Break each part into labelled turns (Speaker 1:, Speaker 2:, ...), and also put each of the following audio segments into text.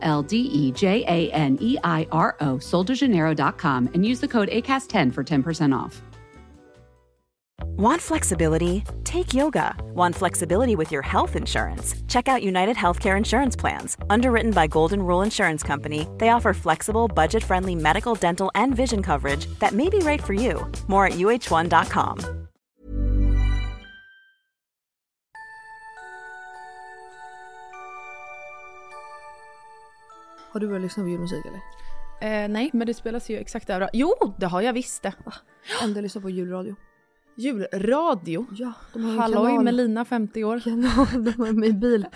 Speaker 1: L D E J A N E I R O, soldejaneiro.com, and use the code ACAST10 for 10% off.
Speaker 2: Want flexibility? Take yoga. Want flexibility with your health insurance? Check out United Healthcare Insurance Plans. Underwritten by Golden Rule Insurance Company, they offer flexible, budget friendly medical, dental, and vision coverage that may be right for you. More at uh1.com.
Speaker 3: Har du börjat lyssna på julmusik eller?
Speaker 4: Eh, nej, men det spelas ju exakt överallt. Jo, det har jag visst det.
Speaker 3: Ändå lyssnar på julradio.
Speaker 4: Julradio.
Speaker 3: Ja, de har ju en
Speaker 4: Mm, Halloj
Speaker 3: kanal.
Speaker 4: Melina 50 år.
Speaker 3: Kanal, de har med bil.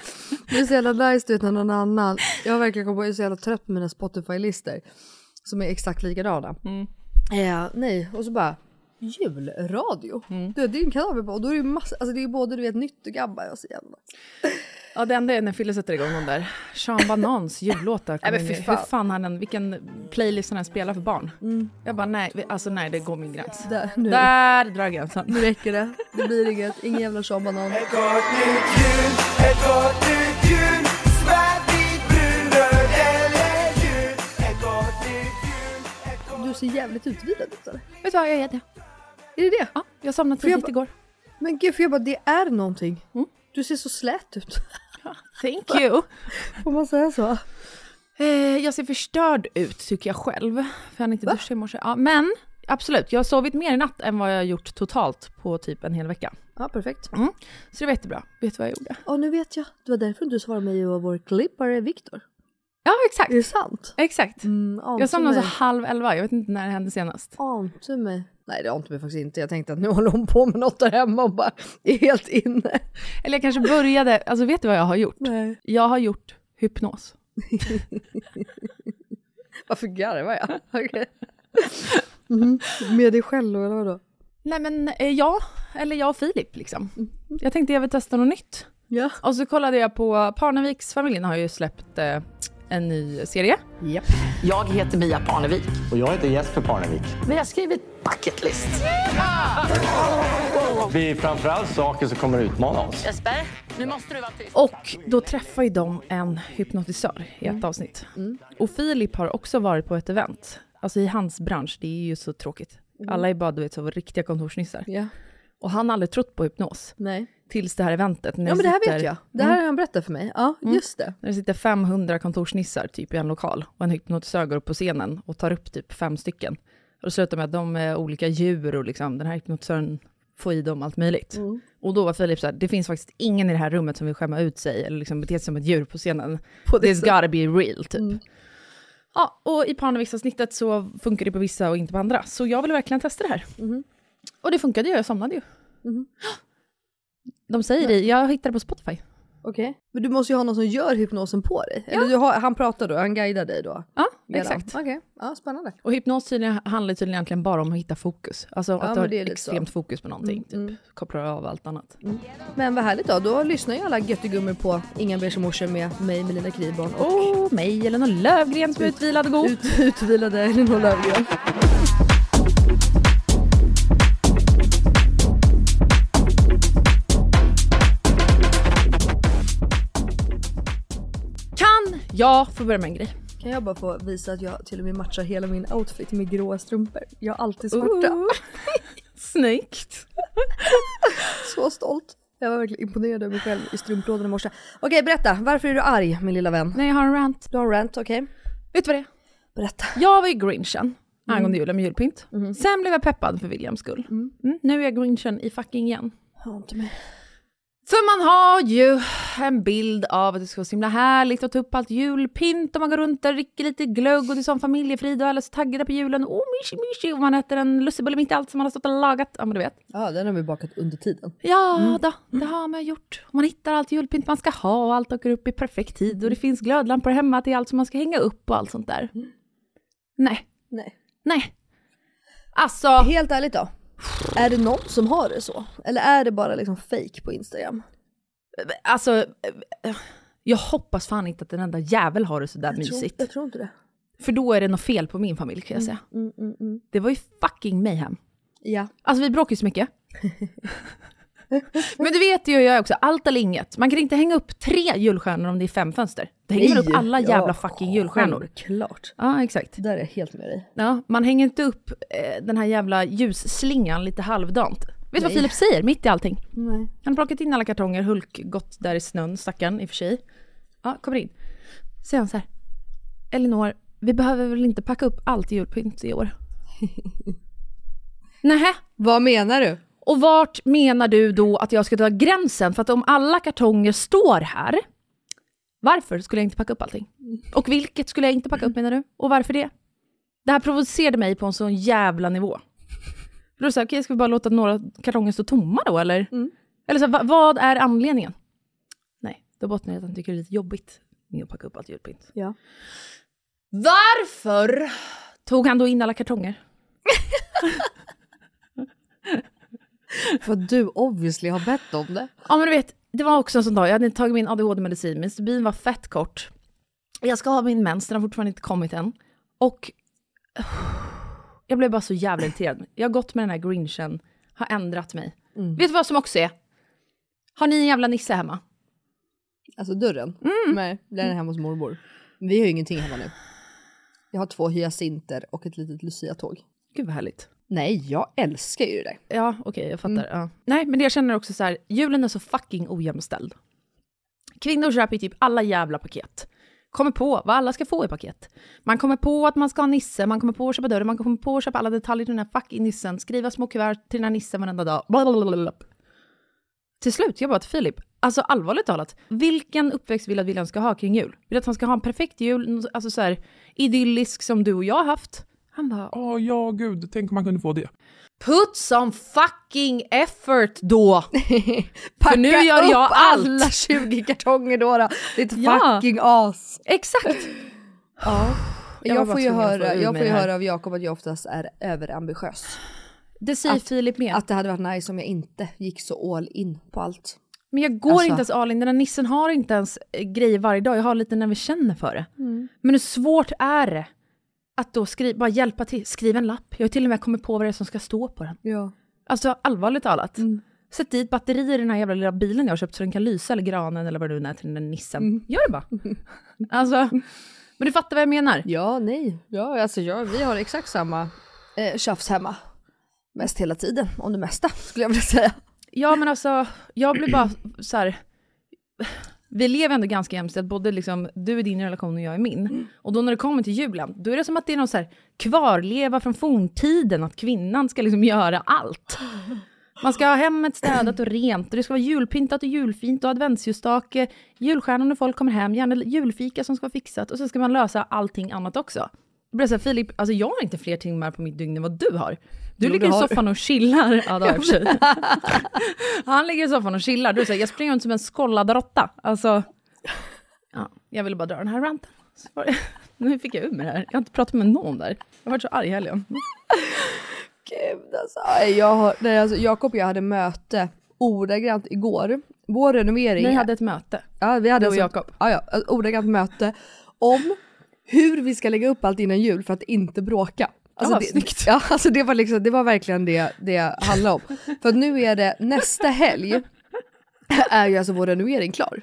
Speaker 3: Det är så jävla nice du vet när någon annan. Jag verkar komma på, jag är så jävla trött på mina Spotify-listor. Som är exakt likadana.
Speaker 4: Mm.
Speaker 3: Eh, nej, och så bara julradio.
Speaker 4: Mm.
Speaker 3: Du vet, det är en kanal vi bara, och då är det ju massa, alltså det är både du vet nytt och gammalt. Och så jävla.
Speaker 4: Ja, det enda är när Fille sätter igång de där Sean Banans jullåtar.
Speaker 3: Nej, men
Speaker 4: kommer
Speaker 3: fy
Speaker 4: in.
Speaker 3: fan.
Speaker 4: Hur fan han än, vilken playlist han än spelar för barn. Jag bara nej, vi- alltså nej det går min gräns.
Speaker 3: Där, nu.
Speaker 4: Där drar gränsen.
Speaker 3: Nu räcker det. Det blir inget, ingen jävla Sean Banan.
Speaker 5: Ett gott nytt jul, ett gott nytt jul Svart, vit, brun, röd eller gul Ett gott nytt jul, ett gott
Speaker 3: Du ser jävligt utvilad ut eller?
Speaker 4: Vet du vad, jag är det.
Speaker 3: Är det det?
Speaker 4: Ja, jag somnade
Speaker 3: Får jag
Speaker 4: tidigt
Speaker 3: ba-
Speaker 4: igår.
Speaker 3: Men gud, för jag bara, det är någonting.
Speaker 4: Mm.
Speaker 3: Du ser så slät ut.
Speaker 4: Thank you.
Speaker 3: Får man säga så?
Speaker 4: Eh, jag ser förstörd ut tycker jag själv. För jag hann inte duscha i morse. Ja, men absolut, jag har sovit mer i natt än vad jag har gjort totalt på typ en hel vecka.
Speaker 3: Ja, perfekt.
Speaker 4: Så det var jättebra. Mm. Vet du vad jag gjorde?
Speaker 3: Ja, nu vet jag. Det var därför du svarade mig och vår klippare Viktor.
Speaker 4: Ja,
Speaker 3: Är
Speaker 4: exakt.
Speaker 3: det sant?
Speaker 4: Exakt.
Speaker 3: Mm, ante
Speaker 4: Jag somnade så
Speaker 3: mig.
Speaker 4: halv elva, jag vet inte när det hände senast.
Speaker 3: Ante mig. Nej, det ante mig faktiskt inte. Jag tänkte att nu håller hon på med något där hemma och bara är helt inne.
Speaker 4: Eller jag kanske började, alltså vet du vad jag har gjort?
Speaker 3: Nej.
Speaker 4: Jag har gjort hypnos.
Speaker 3: Varför garvar jag? Okej. Mhm. Med dig själv eller vadå?
Speaker 4: Nej men eh, ja, eller jag och Filip liksom. Jag tänkte jag vill testa något nytt.
Speaker 3: Ja.
Speaker 4: Och så kollade jag på, Parneviksfamiljen har ju släppt eh, en ny serie.
Speaker 6: Jag heter Mia Parnevik.
Speaker 7: Och jag heter Jesper Parnevik.
Speaker 6: Vi har skrivit bucket list.
Speaker 7: Det är framförallt saker som kommer utmana oss.
Speaker 6: Jesper, nu måste du vara tyst.
Speaker 4: Och då träffar ju de en hypnotisör i ett avsnitt. Och Filip har också varit på ett event. Alltså i hans bransch, det är ju så tråkigt. Alla är bara du vet, så riktiga kontorsnissar.
Speaker 3: Ja.
Speaker 4: Och han har aldrig trott på hypnos.
Speaker 3: Nej.
Speaker 4: Tills det här eventet. När
Speaker 3: Ja, men det här vet
Speaker 4: sitter-
Speaker 3: jag. Mm. Det här har han berättat för mig. Ja, just det.
Speaker 4: När det sitter 500 kontorsnissar typ i en lokal och en hypnotisör går upp på scenen och tar upp typ fem stycken. Och det slutar med att de är olika djur och liksom, den här hypnotisören får i dem allt möjligt. Och då var Filip så här, det finns faktiskt ingen i det här rummet som vill skämma ut sig eller liksom bete sig som ett djur på scenen. This gotta be real, typ. Ja, och i Parneviksavsnittet så funkar det på vissa och inte på andra. Så jag ville verkligen testa det här. Och det funkade ju, jag somnade ju. De säger det, jag hittade på Spotify.
Speaker 3: Okej. Men du måste ju ha någon som gör hypnosen på dig. Eller du har, han pratar då, han guidar dig då.
Speaker 4: Ja,
Speaker 3: Redan.
Speaker 4: exakt.
Speaker 3: Okej, ja, spännande.
Speaker 4: Och hypnos tydligen, handlar tydligen egentligen bara om att hitta fokus. Alltså att du
Speaker 3: men
Speaker 4: har
Speaker 3: det är lite
Speaker 4: extremt fokus på någonting. Typ. Kopplar av allt annat.
Speaker 3: Men vad härligt då, då lyssnar ju alla göttegummor på Inga beiga morsor med mig Melina Kriborn och
Speaker 4: Åh, oh, mig eller någon Lövgren som är utvilad och god.
Speaker 3: ut, utvilade Elinor Löfgren.
Speaker 4: Kan jag få börja med en grej?
Speaker 3: Kan jag bara få visa att jag till och med matchar hela min outfit med gråa strumpor? Jag har alltid svarta.
Speaker 4: Ooh. Snyggt.
Speaker 3: Så stolt. Jag var verkligen imponerad över mig själv i strumplådan i morse. Okej, berätta. Varför är du arg min lilla vän?
Speaker 4: Nej, jag har en rant.
Speaker 3: Du har en rant, okej?
Speaker 4: Vet du vad det är?
Speaker 3: Berätta.
Speaker 4: Jag var ju grinchen angående julen med julpynt. Sen blev jag peppad för Williams skull. Mm. nu är jag grinchen i fucking igen.
Speaker 3: Hör inte mig.
Speaker 4: För man har ju en bild av att det ska vara så himla härligt och ta upp allt julpynt och man går runt och dricker lite glögg och det är sån familjefrid och alla är så taggade på julen. Åh, oh, myshi, myshi! Och man äter en lussebulle mitt i allt som man har stått och lagat. Ja, men du vet. Mm.
Speaker 3: Ja, den har vi bakat under tiden.
Speaker 4: Ja, då, det har man gjort. Man hittar allt julpynt man ska ha och allt åker upp i perfekt tid och det finns glödlampor hemma till allt som man ska hänga upp och allt sånt där. Nej,
Speaker 3: Nej.
Speaker 4: nej. Alltså,
Speaker 3: Helt ärligt då. Är det någon som har det så? Eller är det bara liksom fake på Instagram?
Speaker 4: alltså, eh, jag hoppas fan inte att den enda jävel har det sådär mysigt.
Speaker 3: Jag tror inte det.
Speaker 4: För då är det något fel på min familj kan jag säga.
Speaker 3: Mm, mm, mm.
Speaker 4: Det var ju fucking mayhem.
Speaker 3: Ja.
Speaker 4: Alltså vi bråkar ju så mycket. Men du vet ju jag också, allt eller inget. Man kan inte hänga upp tre julstjärnor om det är fem fönster. Det hänger väl upp alla jävla fucking julstjärnor.
Speaker 3: Självklart.
Speaker 4: Ja, exakt.
Speaker 3: Där är jag helt med dig.
Speaker 4: Ja, man hänger inte upp eh, den här jävla ljusslingan lite halvdant. Vet du vad
Speaker 3: Nej.
Speaker 4: Filip säger mitt i allting?
Speaker 3: Nej.
Speaker 4: Han har plockat in alla kartonger, Hulk gått där i snön, stackaren i och för sig. Ja, kommer in. Säger han så här. Elinor, vi behöver väl inte packa upp allt julpynt i år? Nähä,
Speaker 3: Vad menar du?
Speaker 4: och vart menar du då att jag ska dra gränsen? För att om alla kartonger står här, varför skulle jag inte packa upp allting? Och vilket skulle jag inte packa upp menar du? Och varför det? Det här provocerade mig på en sån jävla nivå. Då är det så här, okej ska vi bara låta några kartonger stå tomma då eller? Eller så här, va, vad är anledningen? Nej, då bottnar jag att han tycker det är lite jobbigt med att packa upp allt julpynt.
Speaker 3: Ja.
Speaker 4: Varför tog han då in alla kartonger?
Speaker 3: För att du obviously har bett om det.
Speaker 4: Ja men du vet, det var också en sån dag, jag hade inte tagit min ADHD-medicin, min stubin var fett kort. Jag ska ha min mens, den har fortfarande inte kommit än. Och jag blev bara så jävla irriterad. Jag har gått med den här grinchen, har ändrat mig. Vet du vad som också är? Har ni en jävla nisse hemma?
Speaker 3: Alltså dörren.
Speaker 4: Mm.
Speaker 3: Nej, den är hemma hos mormor. Vi har ju ingenting hemma nu. Jag har två hyacinter och ett litet luciatåg.
Speaker 4: Gud vad härligt.
Speaker 3: Nej, jag älskar ju det där.
Speaker 4: Ja, okej, jag fattar. Ja. Nej, men det jag känner också så här, julen är så fucking ojämställd. Kvinnor köper ju typ alla jävla paket. Kommer på vad alla ska få i paket. Man kommer på att man ska ha nisse, man kommer på att köpa dörren, man kommer på att köpa alla detaljer till den här fucking nissen, skriva små kuvert till den här nissen varenda dag. Blablabla. Till slut, jag bara till Filip, alltså allvarligt talat, vilken uppväxt vill du att William ska ha kring jul? Vill du att han ska ha en perfekt jul, alltså så här idyllisk som du och jag har haft? Han bara,
Speaker 8: Ja, ja, gud, tänk om man kunde få det.
Speaker 4: Put some fucking effort då! För nu gör
Speaker 3: upp
Speaker 4: jag allt!
Speaker 3: alla 20 kartonger då. då. Det är ett
Speaker 4: Ja.
Speaker 3: fucking as.
Speaker 4: Exakt!
Speaker 3: Jag,
Speaker 4: var bara
Speaker 3: får ju
Speaker 4: tvungen att
Speaker 3: höra,
Speaker 4: få ur
Speaker 3: jag
Speaker 4: mig
Speaker 3: får ju
Speaker 4: det här.
Speaker 3: höra av Jakob att jag oftast är överambitiös.
Speaker 4: Det säger Filip med.
Speaker 3: Att det hade varit nice om jag inte gick så all in på allt.
Speaker 4: men jag går
Speaker 3: Alltså-
Speaker 4: inte ens all in, den här nissen har inte ens eh, grejer varje dag, jag har lite när vi känner för det.
Speaker 3: Mm.
Speaker 4: Men hur svårt är det att då skri- bara hjälpa till, skriv en lapp. Jag har till och med kommit på vad det är som ska stå på den.
Speaker 3: Ja.
Speaker 4: Alltså allvarligt talat. Sätt dit batterier i den här jävla lilla bilen jag har köpt så den kan lysa, eller granen eller vad det nu är till den där nissen. Gör det bara. alltså, men du fattar vad jag menar.
Speaker 3: Ja, nej. Ja, alltså jag, vi har exakt samma eh, tjafs hemma. Mest hela tiden, om det mesta skulle jag vilja säga.
Speaker 4: Ja men alltså, jag blir bara så här. Vi lever ändå ganska jämställt, både liksom, du i din relation och jag i min.
Speaker 3: Mm.
Speaker 4: Och då när det kommer till julen, då är det som att det är någon så här kvarleva från forntiden, att kvinnan ska liksom göra allt. Man ska ha hemmet städat och rent, och det ska vara julpyntat och julfint och adventsljusstake, julstjärnor när folk kommer hem, gärna julfika som ska vara fixat, och så ska man lösa allting annat också. Jag blir så här, Filip, alltså jag har inte fler timmar på mitt dygn än vad du har. Du ligger i
Speaker 3: har du.
Speaker 4: soffan och chillar. Ja, det har jag i och för sig. Han ligger i soffan och chillar. Du säger, jag springer runt som en skollad råtta. Alltså, ja, jag ville bara dra den här ranten. Så var det- Nu fick jag ur mig det här. Jag har inte pratat med någon där. Jag har varit så arg i helgen.
Speaker 3: Gud alltså. Nej, Jag har, nej, alltså Jakob och jag hade möte ordagrant igår. Vår renovering.
Speaker 4: Ni hade ett möte.
Speaker 3: ja, vi hade
Speaker 4: du och
Speaker 3: alltså-
Speaker 4: Jakob.
Speaker 3: Ja, ja, ett ordagrant möte om hur vi ska lägga upp allt innan jul för att inte bråka. Alltså,
Speaker 4: Ja,
Speaker 3: det,
Speaker 4: snyggt.
Speaker 3: Ja, alltså det, var liksom, det var verkligen det det handlade om. För att nu är det nästa helg är ju alltså vår renovering klar.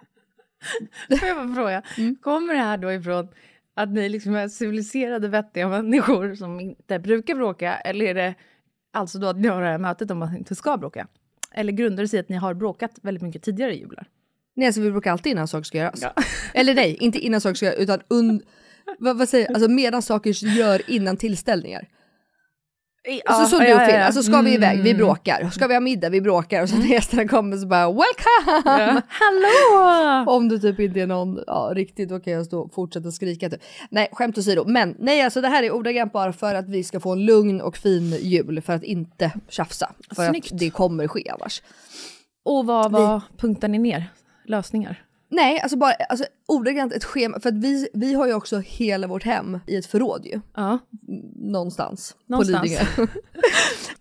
Speaker 4: Får jag bara fråga, kommer det här då ifrån att ni liksom är civiliserade, vettiga människor som inte brukar bråka? Eller är det alltså då att ni har det här mötet om att ni inte ska bråka? Eller grundar det sig i att ni har bråkat väldigt mycket tidigare i jular?
Speaker 3: Nej, alltså vi brukar alltid innan saker ska göras. Eller nej, inte innan saker ska göras, utan un, vad, vad säger jag? Alltså medan saker gör innan tillställningar. Alltså så
Speaker 4: ja,
Speaker 3: du och
Speaker 4: ja,
Speaker 3: Finn,
Speaker 4: ja. Mm.
Speaker 3: alltså ska vi iväg, vi bråkar. Ska vi ha middag, vi bråkar. Och sen när gästerna kommer så bara welcome!
Speaker 4: Hallå!
Speaker 3: Om det typ inte är någon, ja riktigt, då kan jag stå och fortsätta skrika typ. Nej, skämt åsido. Men nej, alltså det här är ordagrant bara för att vi ska få en lugn och fin jul för att inte tjafsa. För
Speaker 4: Snyggt.
Speaker 3: att det kommer ske annars.
Speaker 4: Och vad var punktar ni ner? Lösningar?
Speaker 3: Nej, alltså bara alltså, ordagrant ett schema. För att vi, vi har ju också hela vårt hem i ett förråd ju.
Speaker 4: Ja.
Speaker 3: någonstans,
Speaker 4: Någonstans.
Speaker 3: på Lidingö.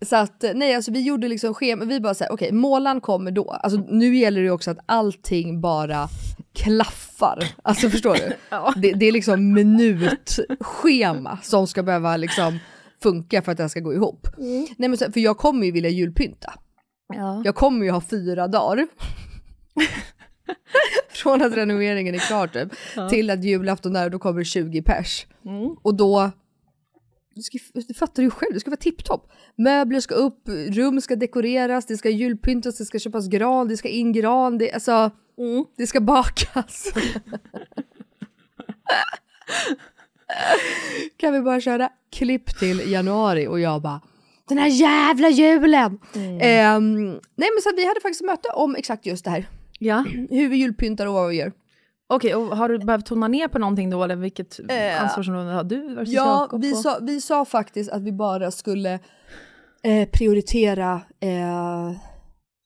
Speaker 3: så att nej, alltså vi gjorde liksom schema, vi bara såhär, okej målan kommer då. Alltså nu gäller det ju också att allting bara klaffar. Alltså förstår du? det, det är liksom minutschema som ska behöva liksom funka för att det här ska gå ihop.
Speaker 4: Mm.
Speaker 3: Nej men så, för jag kommer ju vilja julpynta. Jag kommer ju ha fyra dagar. Från att renoveringen är klar typ, till att julafton är och då kommer det 20 pers. Och då du, ska, du fattar ju själv, det ska vara tipptopp. Möbler ska upp, rum ska dekoreras, det ska julpyntas, det ska köpas gran, det ska in gran, det, alltså, det ska bakas. kan vi bara köra klipp till januari och jag bara den här jävla julen! Ehm, nej men så att vi hade faktiskt möte om exakt just det här.
Speaker 4: ja.
Speaker 3: Hur vi julpyntar och vad vi gör.
Speaker 4: Okej, och har du behövt tona ner på någonting då, eller vilket
Speaker 3: Eh,
Speaker 4: ansvarsområde har du versus
Speaker 3: Ja,
Speaker 4: Jakob
Speaker 3: vi
Speaker 4: på?
Speaker 3: sa, vi sa faktiskt att vi bara skulle eh, prioritera eh,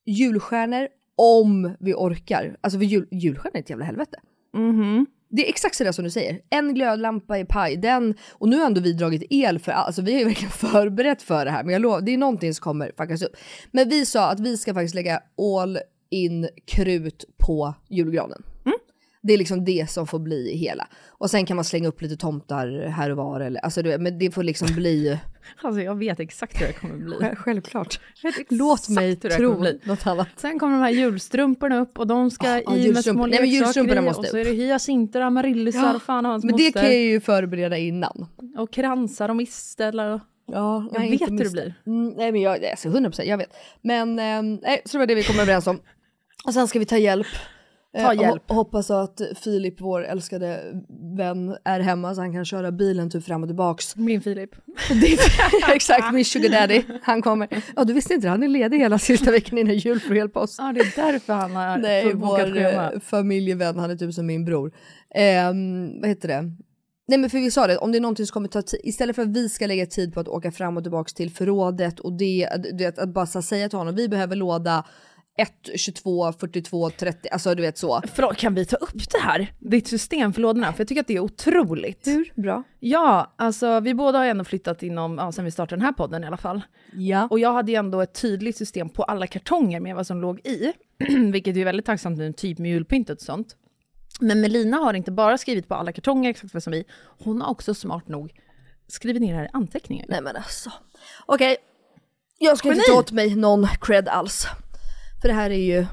Speaker 3: julstjärnor om vi orkar. Alltså för jul, julstjärnor är ett jävla helvete.
Speaker 4: Mhm.
Speaker 3: Det är exakt sådär som du säger. En glödlampa är paj, den... Och nu har ändå vi dragit el för all- Alltså vi har ju verkligen förberett för det här. Men jag lovar, det är någonting som kommer fuckas upp. Men vi sa att vi ska faktiskt lägga all in krut på julgranen.
Speaker 4: Mm.
Speaker 3: Det är liksom det som får bli hela. Och sen kan man slänga upp lite tomtar här och var. Eller, alltså, du vet, men det får liksom bli...
Speaker 4: Alltså jag vet exakt hur det kommer bli.
Speaker 3: Självklart.
Speaker 4: Jag vet
Speaker 3: Låt
Speaker 4: exakt
Speaker 3: mig
Speaker 4: hur det här
Speaker 3: tro
Speaker 4: kommer bli.
Speaker 3: något annat.
Speaker 4: Sen kommer de här julstrumporna upp och de ska
Speaker 3: Ja, ja,
Speaker 4: i med små
Speaker 3: julstrumpor. Nej, men julstrumporna
Speaker 4: leksaker i,
Speaker 3: måste
Speaker 4: och så
Speaker 3: upp.
Speaker 4: är det hyacinter, amaryllisar, fan och hans
Speaker 3: Men det
Speaker 4: moster.
Speaker 3: kan jag ju förbereda innan.
Speaker 4: Och kransar och mistel och...
Speaker 3: Ja,
Speaker 4: Jag vet hur det blir.
Speaker 3: Mm, nej men jag, alltså 100 jag vet. Men ehm, nej, så det var det vi kom överens om. Och sen ska vi ta hjälp. Eh, och
Speaker 4: hjälp.
Speaker 3: ho- hoppas att Filip, vår älskade vän, är hemma så han kan köra bilen typ fram och tillbaks.
Speaker 4: Min Filip.
Speaker 3: Det är, exakt, min sugar daddy, han kommer. Ja du visste inte det, han är ledig hela sista veckan innan jul för att hjälpa oss.
Speaker 4: Ja, det är därför han har
Speaker 3: Nej,
Speaker 4: fullbokat
Speaker 3: vår
Speaker 4: schema.
Speaker 3: eh, familjevän, han är typ som min bror. Ehm, vad heter det? Nej men för vi sa det, om det är någonting som kommer ta tid, istället för att vi ska lägga tid på att åka fram och tillbaka till förrådet och det, du vet, att bara så här säga till honom, vi behöver låda 1, 22, 42, 30, alltså du vet så.
Speaker 4: Förlåt, kan vi ta upp det här? Ditt system för lådorna, för jag tycker att det är otroligt.
Speaker 3: Hur bra?
Speaker 4: Ja, alltså vi båda har ju ändå flyttat inom, ja, sen vi startade den här podden i alla fall.
Speaker 3: Ja.
Speaker 4: Och jag hade ju ändå ett tydligt system på alla kartonger med vad som låg i, vilket ju är väldigt tacksamt nu, typ med julpyntet och sånt. Men Melina har inte bara skrivit på alla kartonger exakt vad som är i, hon har också smart nog skrivit ner det här i anteckningar.
Speaker 3: Nej men alltså. Okej, jag ska inte ta åt mig någon cred alls. För det här är ju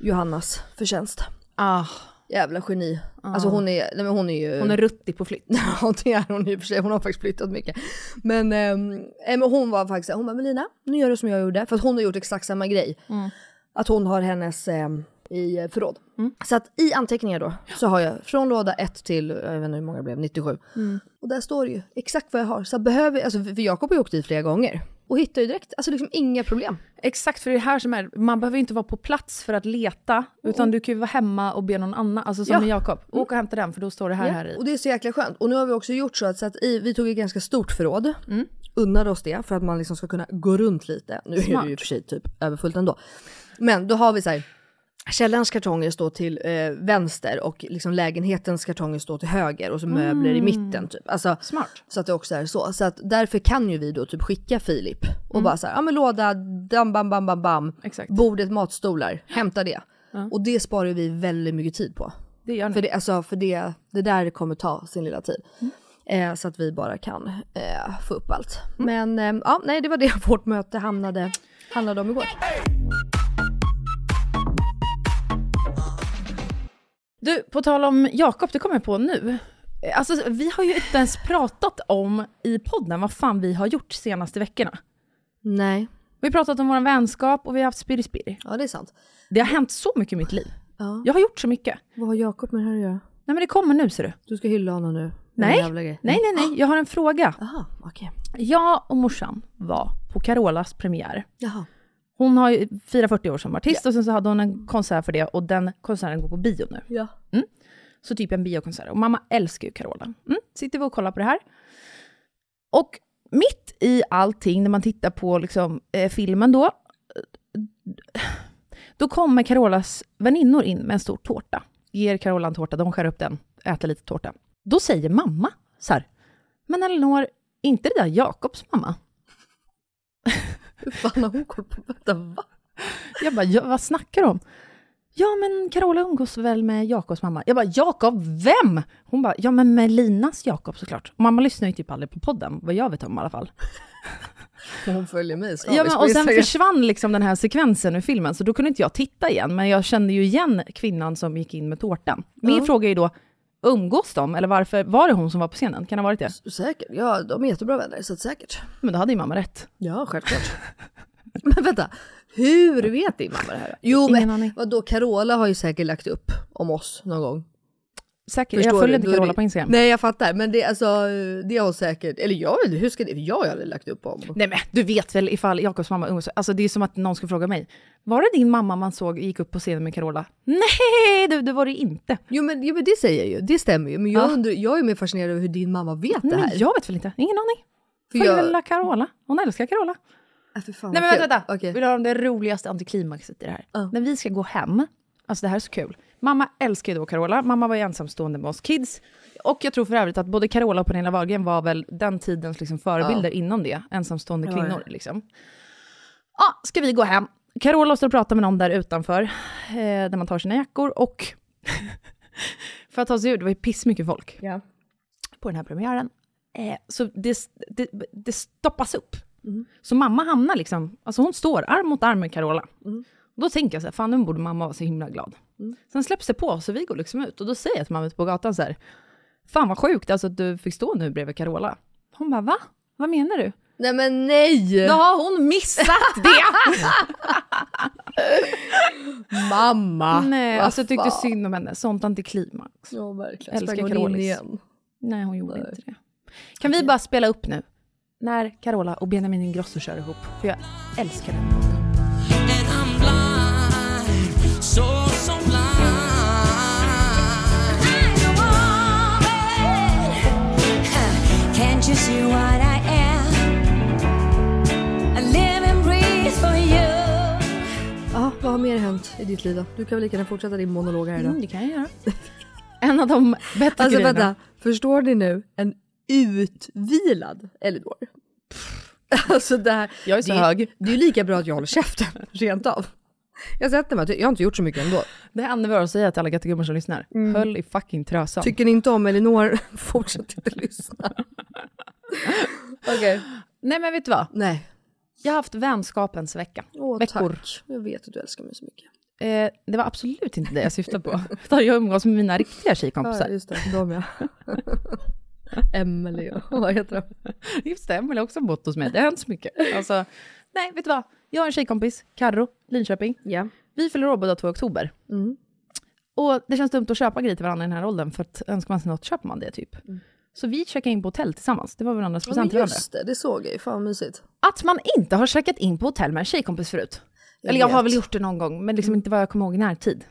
Speaker 3: Johannas förtjänst.
Speaker 4: Ah,
Speaker 3: Jävla geni. Alltså hon är, nej, men hon är ju...
Speaker 4: hon är ruttig på flytt.
Speaker 3: Ja det är hon i och för sig, hon har faktiskt flyttat mycket. Men, ehm, eh, men hon var faktiskt hon bara Melina, nu gör du som jag gjorde. För att hon har gjort exakt samma grej. Att hon har hennes ehm, i förråd. Så att i anteckningar då så har jag från låda 1 till, jag vet inte hur många det blev, 97. Och där står det ju exakt vad jag har. Så att behöver, alltså för för Jakob har ju åkt dit flera gånger. Och hittar ju direkt, alltså liksom inga problem.
Speaker 4: Exakt, för det är här som är, man behöver ju inte vara på plats för att leta, utan du kan ju vara hemma och be någon annan, alltså som
Speaker 3: Ja.
Speaker 4: med Jakob, åk och hämta den för då står det här här i.
Speaker 3: Och det är så jäkla skönt. Och nu har vi också gjort så att, så att i, vi tog ett ganska stort förråd.
Speaker 4: Mm.
Speaker 3: Unnade oss det för att man liksom ska kunna gå runt lite. Nu är det ju i och för sig typ överfullt ändå. Men då har vi så här. Källarens kartonger står till eh, vänster och liksom lägenhetens kartonger står till höger och så möbler i mitten. Typ. Alltså,
Speaker 4: Mm. Smart.
Speaker 3: Så att det också är så. Så att därför kan ju vi då typ skicka Filip och bara så här, ja men låda, dam, bam, bam, bam, bam.
Speaker 4: Mm. Exakt.
Speaker 3: Bordet, matstolar, hämta det. Och det sparar ju vi väldigt mycket tid på.
Speaker 4: Det gör ni.
Speaker 3: För, det, alltså, för det, det där kommer ta sin lilla tid. Eh, så att vi bara kan eh, få upp allt. Men eh, ja, nej, det var det vårt möte hamnade, handlade om igår.
Speaker 4: Du, på tal om Jakob, det kommer jag på nu. Eh, Alltså, vi har ju inte ens pratat om i podden vad fan vi har gjort senaste veckorna.
Speaker 3: Nej,
Speaker 4: Vi har pratat om vår vänskap och vi har haft spirri-spirri.
Speaker 3: ja det är sant.
Speaker 4: Det har hänt så mycket i mitt liv.
Speaker 3: Ja.
Speaker 4: Jag har gjort så mycket.
Speaker 3: Vad har Jakob med det här att göra?
Speaker 4: Nej men det kommer nu ser du.
Speaker 3: Du ska hylla honom nu.
Speaker 4: Nej.
Speaker 3: jävla grej.
Speaker 4: Nej, nej, nej. Jag har en fråga.
Speaker 3: Jaha, okej.
Speaker 4: Jag och morsan var på Carolas premiär.
Speaker 3: Jaha.
Speaker 4: Hon har ju firat 40 år som artist och sen så hade hon en konsert för det och den konserten går på bio nu.
Speaker 3: Ja.
Speaker 4: Så typ en biokonsert. Och mamma älskar ju Carola. Mm. Sitter vi och kollar på det här. Och mitt i allting, när man tittar på liksom, eh, filmen då, eh, då kommer Carolas väninnor in med en stor tårta. Ger Carola en tårta, de skär upp den, äter lite tårta. Då säger mamma så här, men Elinor, är inte det där Jakobs mamma?
Speaker 3: Hur fan har hon koll på detta? Va?
Speaker 4: Jag bara, ja, vad snackar du om? Ja, men Carola umgås väl med Jakobs mamma? Jag bara, Jakob, vem? Hon bara, ja men med Linas Jakob såklart. Och mamma lyssnar ju typ aldrig på podden, vad jag vet om i alla fall.
Speaker 3: Hon följer mig så
Speaker 4: Ja, men, och sen försvann liksom den här sekvensen ur filmen, så då kunde inte jag titta igen, men jag kände ju igen kvinnan som gick in med tårtan. Min fråga är ju då, umgås de, eller varför var det hon som var på scenen? Kan det ha varit det?
Speaker 3: Säkert. Ja, de är jättebra vänner, så att säkert.
Speaker 4: Men då hade ju mamma rätt.
Speaker 3: Ja, självklart. men vänta, hur vet din mamma det här? Jo,
Speaker 4: Ingen aning.
Speaker 3: men vadå, Carola har ju säkert lagt upp om oss någon gång.
Speaker 4: Säkert,
Speaker 3: Förstår
Speaker 4: jag följer
Speaker 3: du?
Speaker 4: inte
Speaker 3: Då är
Speaker 4: Carola
Speaker 3: det-
Speaker 4: på Instagram. Nej.
Speaker 3: Nej, jag fattar. Men det, alltså, det har hon säkert, eller jag vet inte, hur ska det, jag hade lagt upp om.
Speaker 4: men du vet väl ifall Jakobs mamma umgås, alltså det är som att någon skulle fråga mig, var det din mamma man såg gick upp på scenen med Carola? Nej, du, det var det inte.
Speaker 3: Jo men, jo, men det säger jag ju, det stämmer ju. Men jag,
Speaker 4: Ja.
Speaker 3: undrar, jag är mer fascinerad över hur din mamma vet
Speaker 4: Nej,
Speaker 3: det
Speaker 4: men
Speaker 3: här.
Speaker 4: jag vet väl inte, ingen aning.
Speaker 3: För
Speaker 4: Följer
Speaker 3: jag-
Speaker 4: väl lilla Carola, hon älskar Carola.
Speaker 3: Ah, för fan,
Speaker 4: Nej men
Speaker 3: vad
Speaker 4: vänta, vänta.
Speaker 3: kul. Okej.
Speaker 4: Vill du höra om det roligaste antiklimaxet i det här?
Speaker 3: Ja.
Speaker 4: När vi ska gå hem, alltså det här är så kul. Mamma älskar ju då Carola, mamma var ju ensamstående med oss kids. Och jag tror för övrigt att både Carola och Pernilla Wahlgren var väl den tidens liksom förebilder inom det, ensamstående
Speaker 3: ja.
Speaker 4: kvinnor liksom. Ja, ska vi gå hem. Carola står och pratar med någon där utanför, eh, där man tar sina jackor och för att ta sig ur, det var ju pissmycket folk
Speaker 3: Ja.
Speaker 4: på den här premiären. Eh, så det, det, det stoppas upp. Så mamma hamnar liksom, alltså hon står arm mot arm med Carola. Och då tänker jag så här, fan nu borde mamma vara så himla glad. Sen släpps det på, så vi går liksom ut. Och då säger jag till mamma ute på gatan så här, fan vad sjukt alltså att du fick stå nu bredvid Carola. Hon bara, va? Vad menar du?
Speaker 3: Nej men nej!
Speaker 4: Då har hon missat det!
Speaker 3: Mamma!
Speaker 4: Nej,
Speaker 3: Vad
Speaker 4: alltså jag tyckte
Speaker 3: fan.
Speaker 4: synd om henne. Sånt antiklimax.
Speaker 3: Ja verkligen.
Speaker 4: Älskar
Speaker 3: Sprang hon in
Speaker 4: Carolis.
Speaker 3: igen.
Speaker 4: Nej, hon gjorde inte det. Kan vi bara spela upp nu? När Carola och Benjamin Ingrosso kör ihop. För jag älskar den låten.
Speaker 5: And I'm blind, so, so blind.
Speaker 9: Can't you see what I am? I live and breathe for you.
Speaker 3: Ja, vad har mer hänt i ditt liv då? Du kan väl lika gärna fortsätta din monolog här idag.
Speaker 4: det kan jag göra. En av de bättre
Speaker 3: Alltså
Speaker 4: grejerna.
Speaker 3: vänta, förstår ni nu? En utvilad Elinor. Alltså det här,
Speaker 4: Jag är så
Speaker 3: det,
Speaker 4: hög.
Speaker 3: Det är ju lika bra att jag håller käften, rent av. Jag sätter mig, jag har inte gjort så mycket ändå.
Speaker 4: Det är vi har att säga till alla gattegummor som lyssnar. Höll i fucking trösan.
Speaker 3: Tycker ni inte om Elinor, fortsätt inte lyssna. Okej.
Speaker 4: Nej men vet du vad?
Speaker 3: Nej.
Speaker 4: Jag har haft vänskapens vecka.
Speaker 3: Åh,
Speaker 4: Veckor.
Speaker 3: tack. Jag vet att du älskar mig så mycket.
Speaker 4: Eh, det var absolut inte det jag syftade på. Utan jag umgås med mina riktiga
Speaker 3: Ja,
Speaker 4: tjejkompisar.
Speaker 3: just det. De ja. Emelie och vad heter de?
Speaker 4: Just det, Emelie har också bott hos mig. Det har hänt så mycket. Alltså, nej, vet du vad? Jag har en tjejkompis, Karro, Linköping.
Speaker 3: Ja. Mm.
Speaker 4: Vi fyller år båda två i oktober. Och det känns dumt att köpa grejer till varandra i den här åldern, för att önskar man sig något köper man det typ. Så vi checkade in på hotell tillsammans, det var varandras
Speaker 3: Mm. Ja, men
Speaker 4: present till varandra.
Speaker 3: just det, det såg jag ju. Fan vad mysigt.
Speaker 4: Att man inte har checkat in på hotell med en tjejkompis förut. Eller jag har
Speaker 3: vet. Mm.
Speaker 4: väl gjort det någon gång, men liksom inte vad jag kommer ihåg i närtid.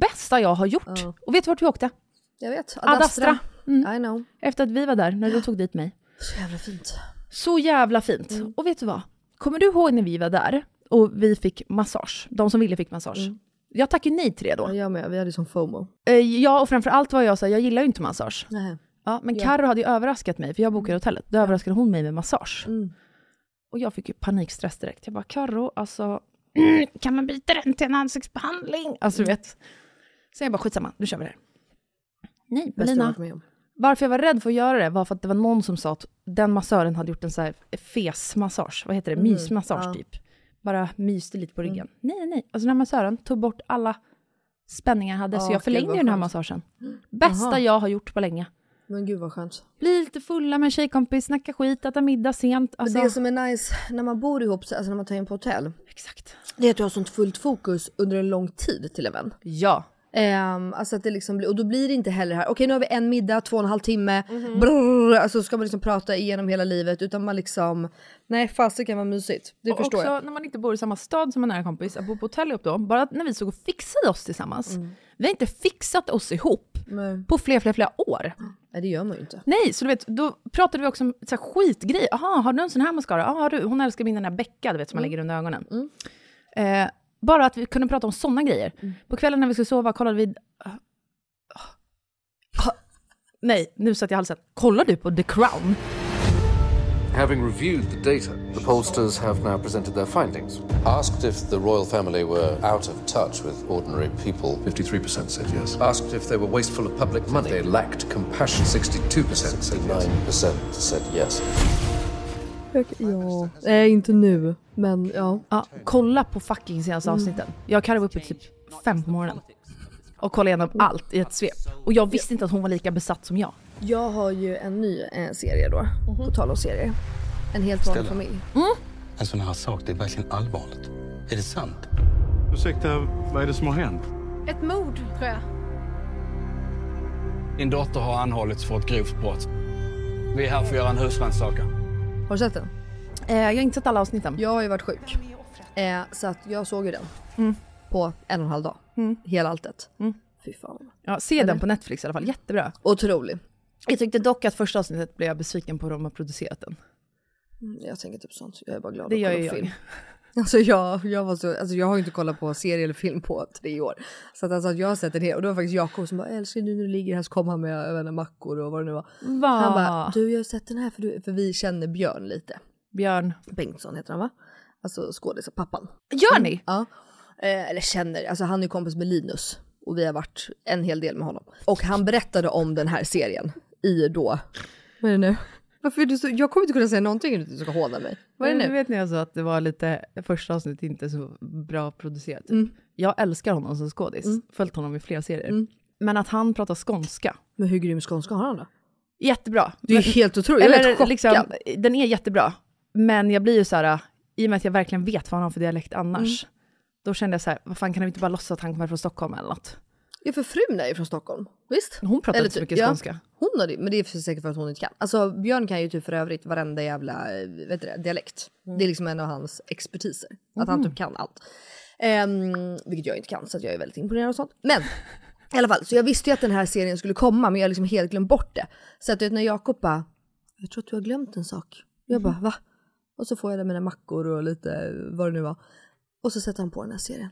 Speaker 4: Bästa jag har gjort.
Speaker 3: Ja.
Speaker 4: Och vet du vart vi åkte?
Speaker 3: Jag vet.
Speaker 4: Adastra.
Speaker 3: I know.
Speaker 4: Efter att vi var där, när du tog dit mig.
Speaker 3: Så jävla fint.
Speaker 4: Så jävla fint.
Speaker 3: Mm.
Speaker 4: Och vet du vad? Kommer du ihåg när vi var där och vi fick massage? De som ville fick massage. Jag tackade nej till det då.
Speaker 3: Mm. Ja, jag med, vi hade ju sån FOMO.
Speaker 4: Eh, Ja, och framförallt var jag så här, jag gillar ju inte massage.
Speaker 3: Nej.
Speaker 4: Ja, Mm. men Carro hade ju överraskat mig, för jag bokade hotellet. Då överraskade hon mig med massage. Och jag fick ju panikstress direkt. Jag bara, Carro, alltså, kan man byta den till en ansiktsbehandling? Alltså, du vet. Sen jag bara, skitsamma, nu kör vi det här. Nej,
Speaker 3: Bästa jag
Speaker 4: Melina.
Speaker 3: varit med om.
Speaker 4: Varför jag var rädd för att göra det var för att det var någon som sa att den massören hade gjort en så här fesmassage, vad heter det, mysmassage typ. Bara myste lite på ryggen. Nej, nej, alltså den här massören tog bort alla spänningar jag hade,
Speaker 3: Åh,
Speaker 4: så
Speaker 3: gud,
Speaker 4: jag förlängde
Speaker 3: vad
Speaker 4: ju den här
Speaker 3: skönt.
Speaker 4: massagen. Bästa
Speaker 3: Jaha.
Speaker 4: jag har gjort på länge.
Speaker 3: Men gud vad skönt.
Speaker 4: Bli lite fulla med en tjejkompis, snacka skit, äta middag sent. Alltså,
Speaker 3: Men det som är nice när man bor ihop, sig, alltså när man tar in på hotell,
Speaker 4: Exakt.
Speaker 3: det är att du har sånt fullt fokus under en lång tid till en vän.
Speaker 4: Ja.
Speaker 3: Ehm, alltså att det liksom blir, och då blir det inte heller här, okej nu har vi en middag, två och en halv timme,
Speaker 4: Mhm.
Speaker 3: brrr, alltså ska man liksom prata igenom hela livet utan man liksom, nej fasiken kan vara mysigt, det
Speaker 4: och
Speaker 3: förstår
Speaker 4: också
Speaker 3: jag.
Speaker 4: när man inte bor i samma stad som en nära kompis, att bo på hotell ihop då, bara att när vi såg och fixade oss tillsammans,
Speaker 3: Mm.
Speaker 4: vi har inte fixat oss ihop
Speaker 3: Nej.
Speaker 4: på flera, flera, flera år.
Speaker 3: Nej det gör man ju inte.
Speaker 4: Nej, så du vet, då pratade vi också om så här skitgrejer. Jaha, har du en sån här mascara? Ja, har du. Hon älskar min den här Becka, du vet, som
Speaker 3: Mm.
Speaker 4: man lägger under ögonen. Eh, bara att vi kunde prata om såna grejer.
Speaker 3: Mm.
Speaker 4: På kvällen när vi skulle sova kollade vi... Ah. Ah. Nej, nu satt jag i halsen. Kollar du på The Crown?
Speaker 10: Having reviewed the data, the pollsters have now presented their findings. Asked if the royal family were out of touch with ordinary people, 53% said yes. Asked if they were wasteful of public money, they lacked compassion, 62% said yes. 9% said yes.
Speaker 3: Ja. Nej inte nu, men ja.
Speaker 4: Ja, kolla på fucking senaste avsnitten. Jag karvade upp i typ fem på morgonen. Och kollade igenom allt i ett svep. Och jag visste inte att hon var lika besatt som jag.
Speaker 3: Jag har ju en ny eh, serie då,
Speaker 4: Mhm.
Speaker 3: på tal om serier. En helt vanlig familj.
Speaker 11: En sån här sak, det är verkligen allvarligt. Är det sant?
Speaker 10: Ursäkta, vad är det som har hänt?
Speaker 9: Ett mord, tror jag.
Speaker 11: Din dotter har anhållits för ett grovt brott. Vi är här för att göra en husrannsakan.
Speaker 3: Har du sett den?
Speaker 4: Eh, jag har inte sett alla avsnitten.
Speaker 3: Jag har ju varit sjuk. Eh, så att jag såg ju den.
Speaker 4: Mm.
Speaker 3: På en och en halv dag. Hela alltet. Fy fan.
Speaker 4: Ja, se den på Netflix i alla fall, jättebra.
Speaker 3: Otrolig.
Speaker 4: Jag tyckte dock att första avsnittet blev jag besviken på hur de har producerat den.
Speaker 3: Jag tänker typ sånt. Jag är bara glad
Speaker 4: Det
Speaker 3: att
Speaker 4: gör
Speaker 3: kolla
Speaker 4: ju
Speaker 3: på
Speaker 4: jag.
Speaker 3: film. Alltså jag, jag, var så, alltså jag har ju inte kollat på serie eller film på tre år. Så att alltså att jag har sett en hel, och det var faktiskt Jakob som bara älskar nu när du ligger här så kom han med jag vet inte, mackor och vad det nu var.
Speaker 4: Va?
Speaker 3: Han
Speaker 4: Ah.
Speaker 3: bara du jag har sett den här för, du, för vi känner Björn lite.
Speaker 4: Björn.
Speaker 3: Bengtsson heter han va? Alltså skådisen, pappan.
Speaker 4: Gör ni?
Speaker 3: Ja. Eh, eller känner, alltså han är ju kompis med Linus och vi har varit en hel del med honom. Och han berättade om den här serien i då... Vad är det nu? Varför är du så... Jag kommer inte kunna säga någonting om du ska håna mig. Vad är det
Speaker 4: Du
Speaker 3: nu?
Speaker 4: vet när jag sa att det var lite, första avsnittet inte så bra producerat. Typ. Jag älskar honom som skådis, följt honom i flera serier. Men att han pratar skånska,
Speaker 3: Men hur grym skånska har han då?
Speaker 4: jättebra.
Speaker 3: Det är ju helt otroligt. Jag är helt
Speaker 4: Eller,
Speaker 3: chockad.
Speaker 4: liksom, den är jättebra, men jag blir ju så här, i och med att jag verkligen vet vad han har för dialekt annars,
Speaker 3: Mm.
Speaker 4: då kände jag så här, vad fan kan vi inte bara låtsas att han kommer från Stockholm eller något?
Speaker 3: Ja, för frun är ju från Stockholm. Visst?
Speaker 4: Hon pratar
Speaker 3: Eller
Speaker 4: inte så
Speaker 3: typ-
Speaker 4: mycket skånska.
Speaker 3: Hon har det, men det är för säkert för att hon inte kan. Alltså Björn kan ju typ för övrigt varenda jävla eh, vet du, det, dialekt.
Speaker 4: Mm.
Speaker 3: Det är liksom en av hans expertiser. Att han typ kan allt. Ehm, vilket jag inte kan så att jag är väldigt imponerad och sånt. Men i alla fall, så jag visste ju att den här serien skulle komma men jag har liksom helt glömt bort det. Så att du vet när Jakob bara, jag tror att du har glömt en sak. Jag
Speaker 4: Mm.
Speaker 3: bara va? Och så får jag där mina mackor och lite vad det nu var. Och så sätter han på den här serien.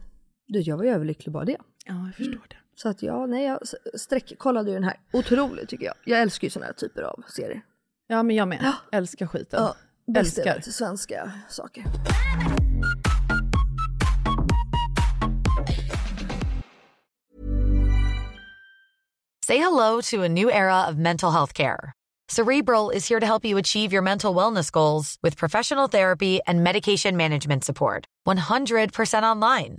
Speaker 3: Du vet jag var ju överlycklig bara det.
Speaker 4: Ja, jag förstår det.
Speaker 3: Så att ja, nej, jag sträckkollade ju den här. Otrolig tycker jag. Jag älskar ju såna här typer av serier. Mm.
Speaker 4: Ja, men jag med. Älskar skiten.
Speaker 3: Ja, bäst jag
Speaker 4: Älskar.
Speaker 3: vet, svenska saker.
Speaker 12: Say hello to a new era of mental health care. Cerebral is here to help you achieve your mental wellness goals with professional therapy and medication management support. 100% online.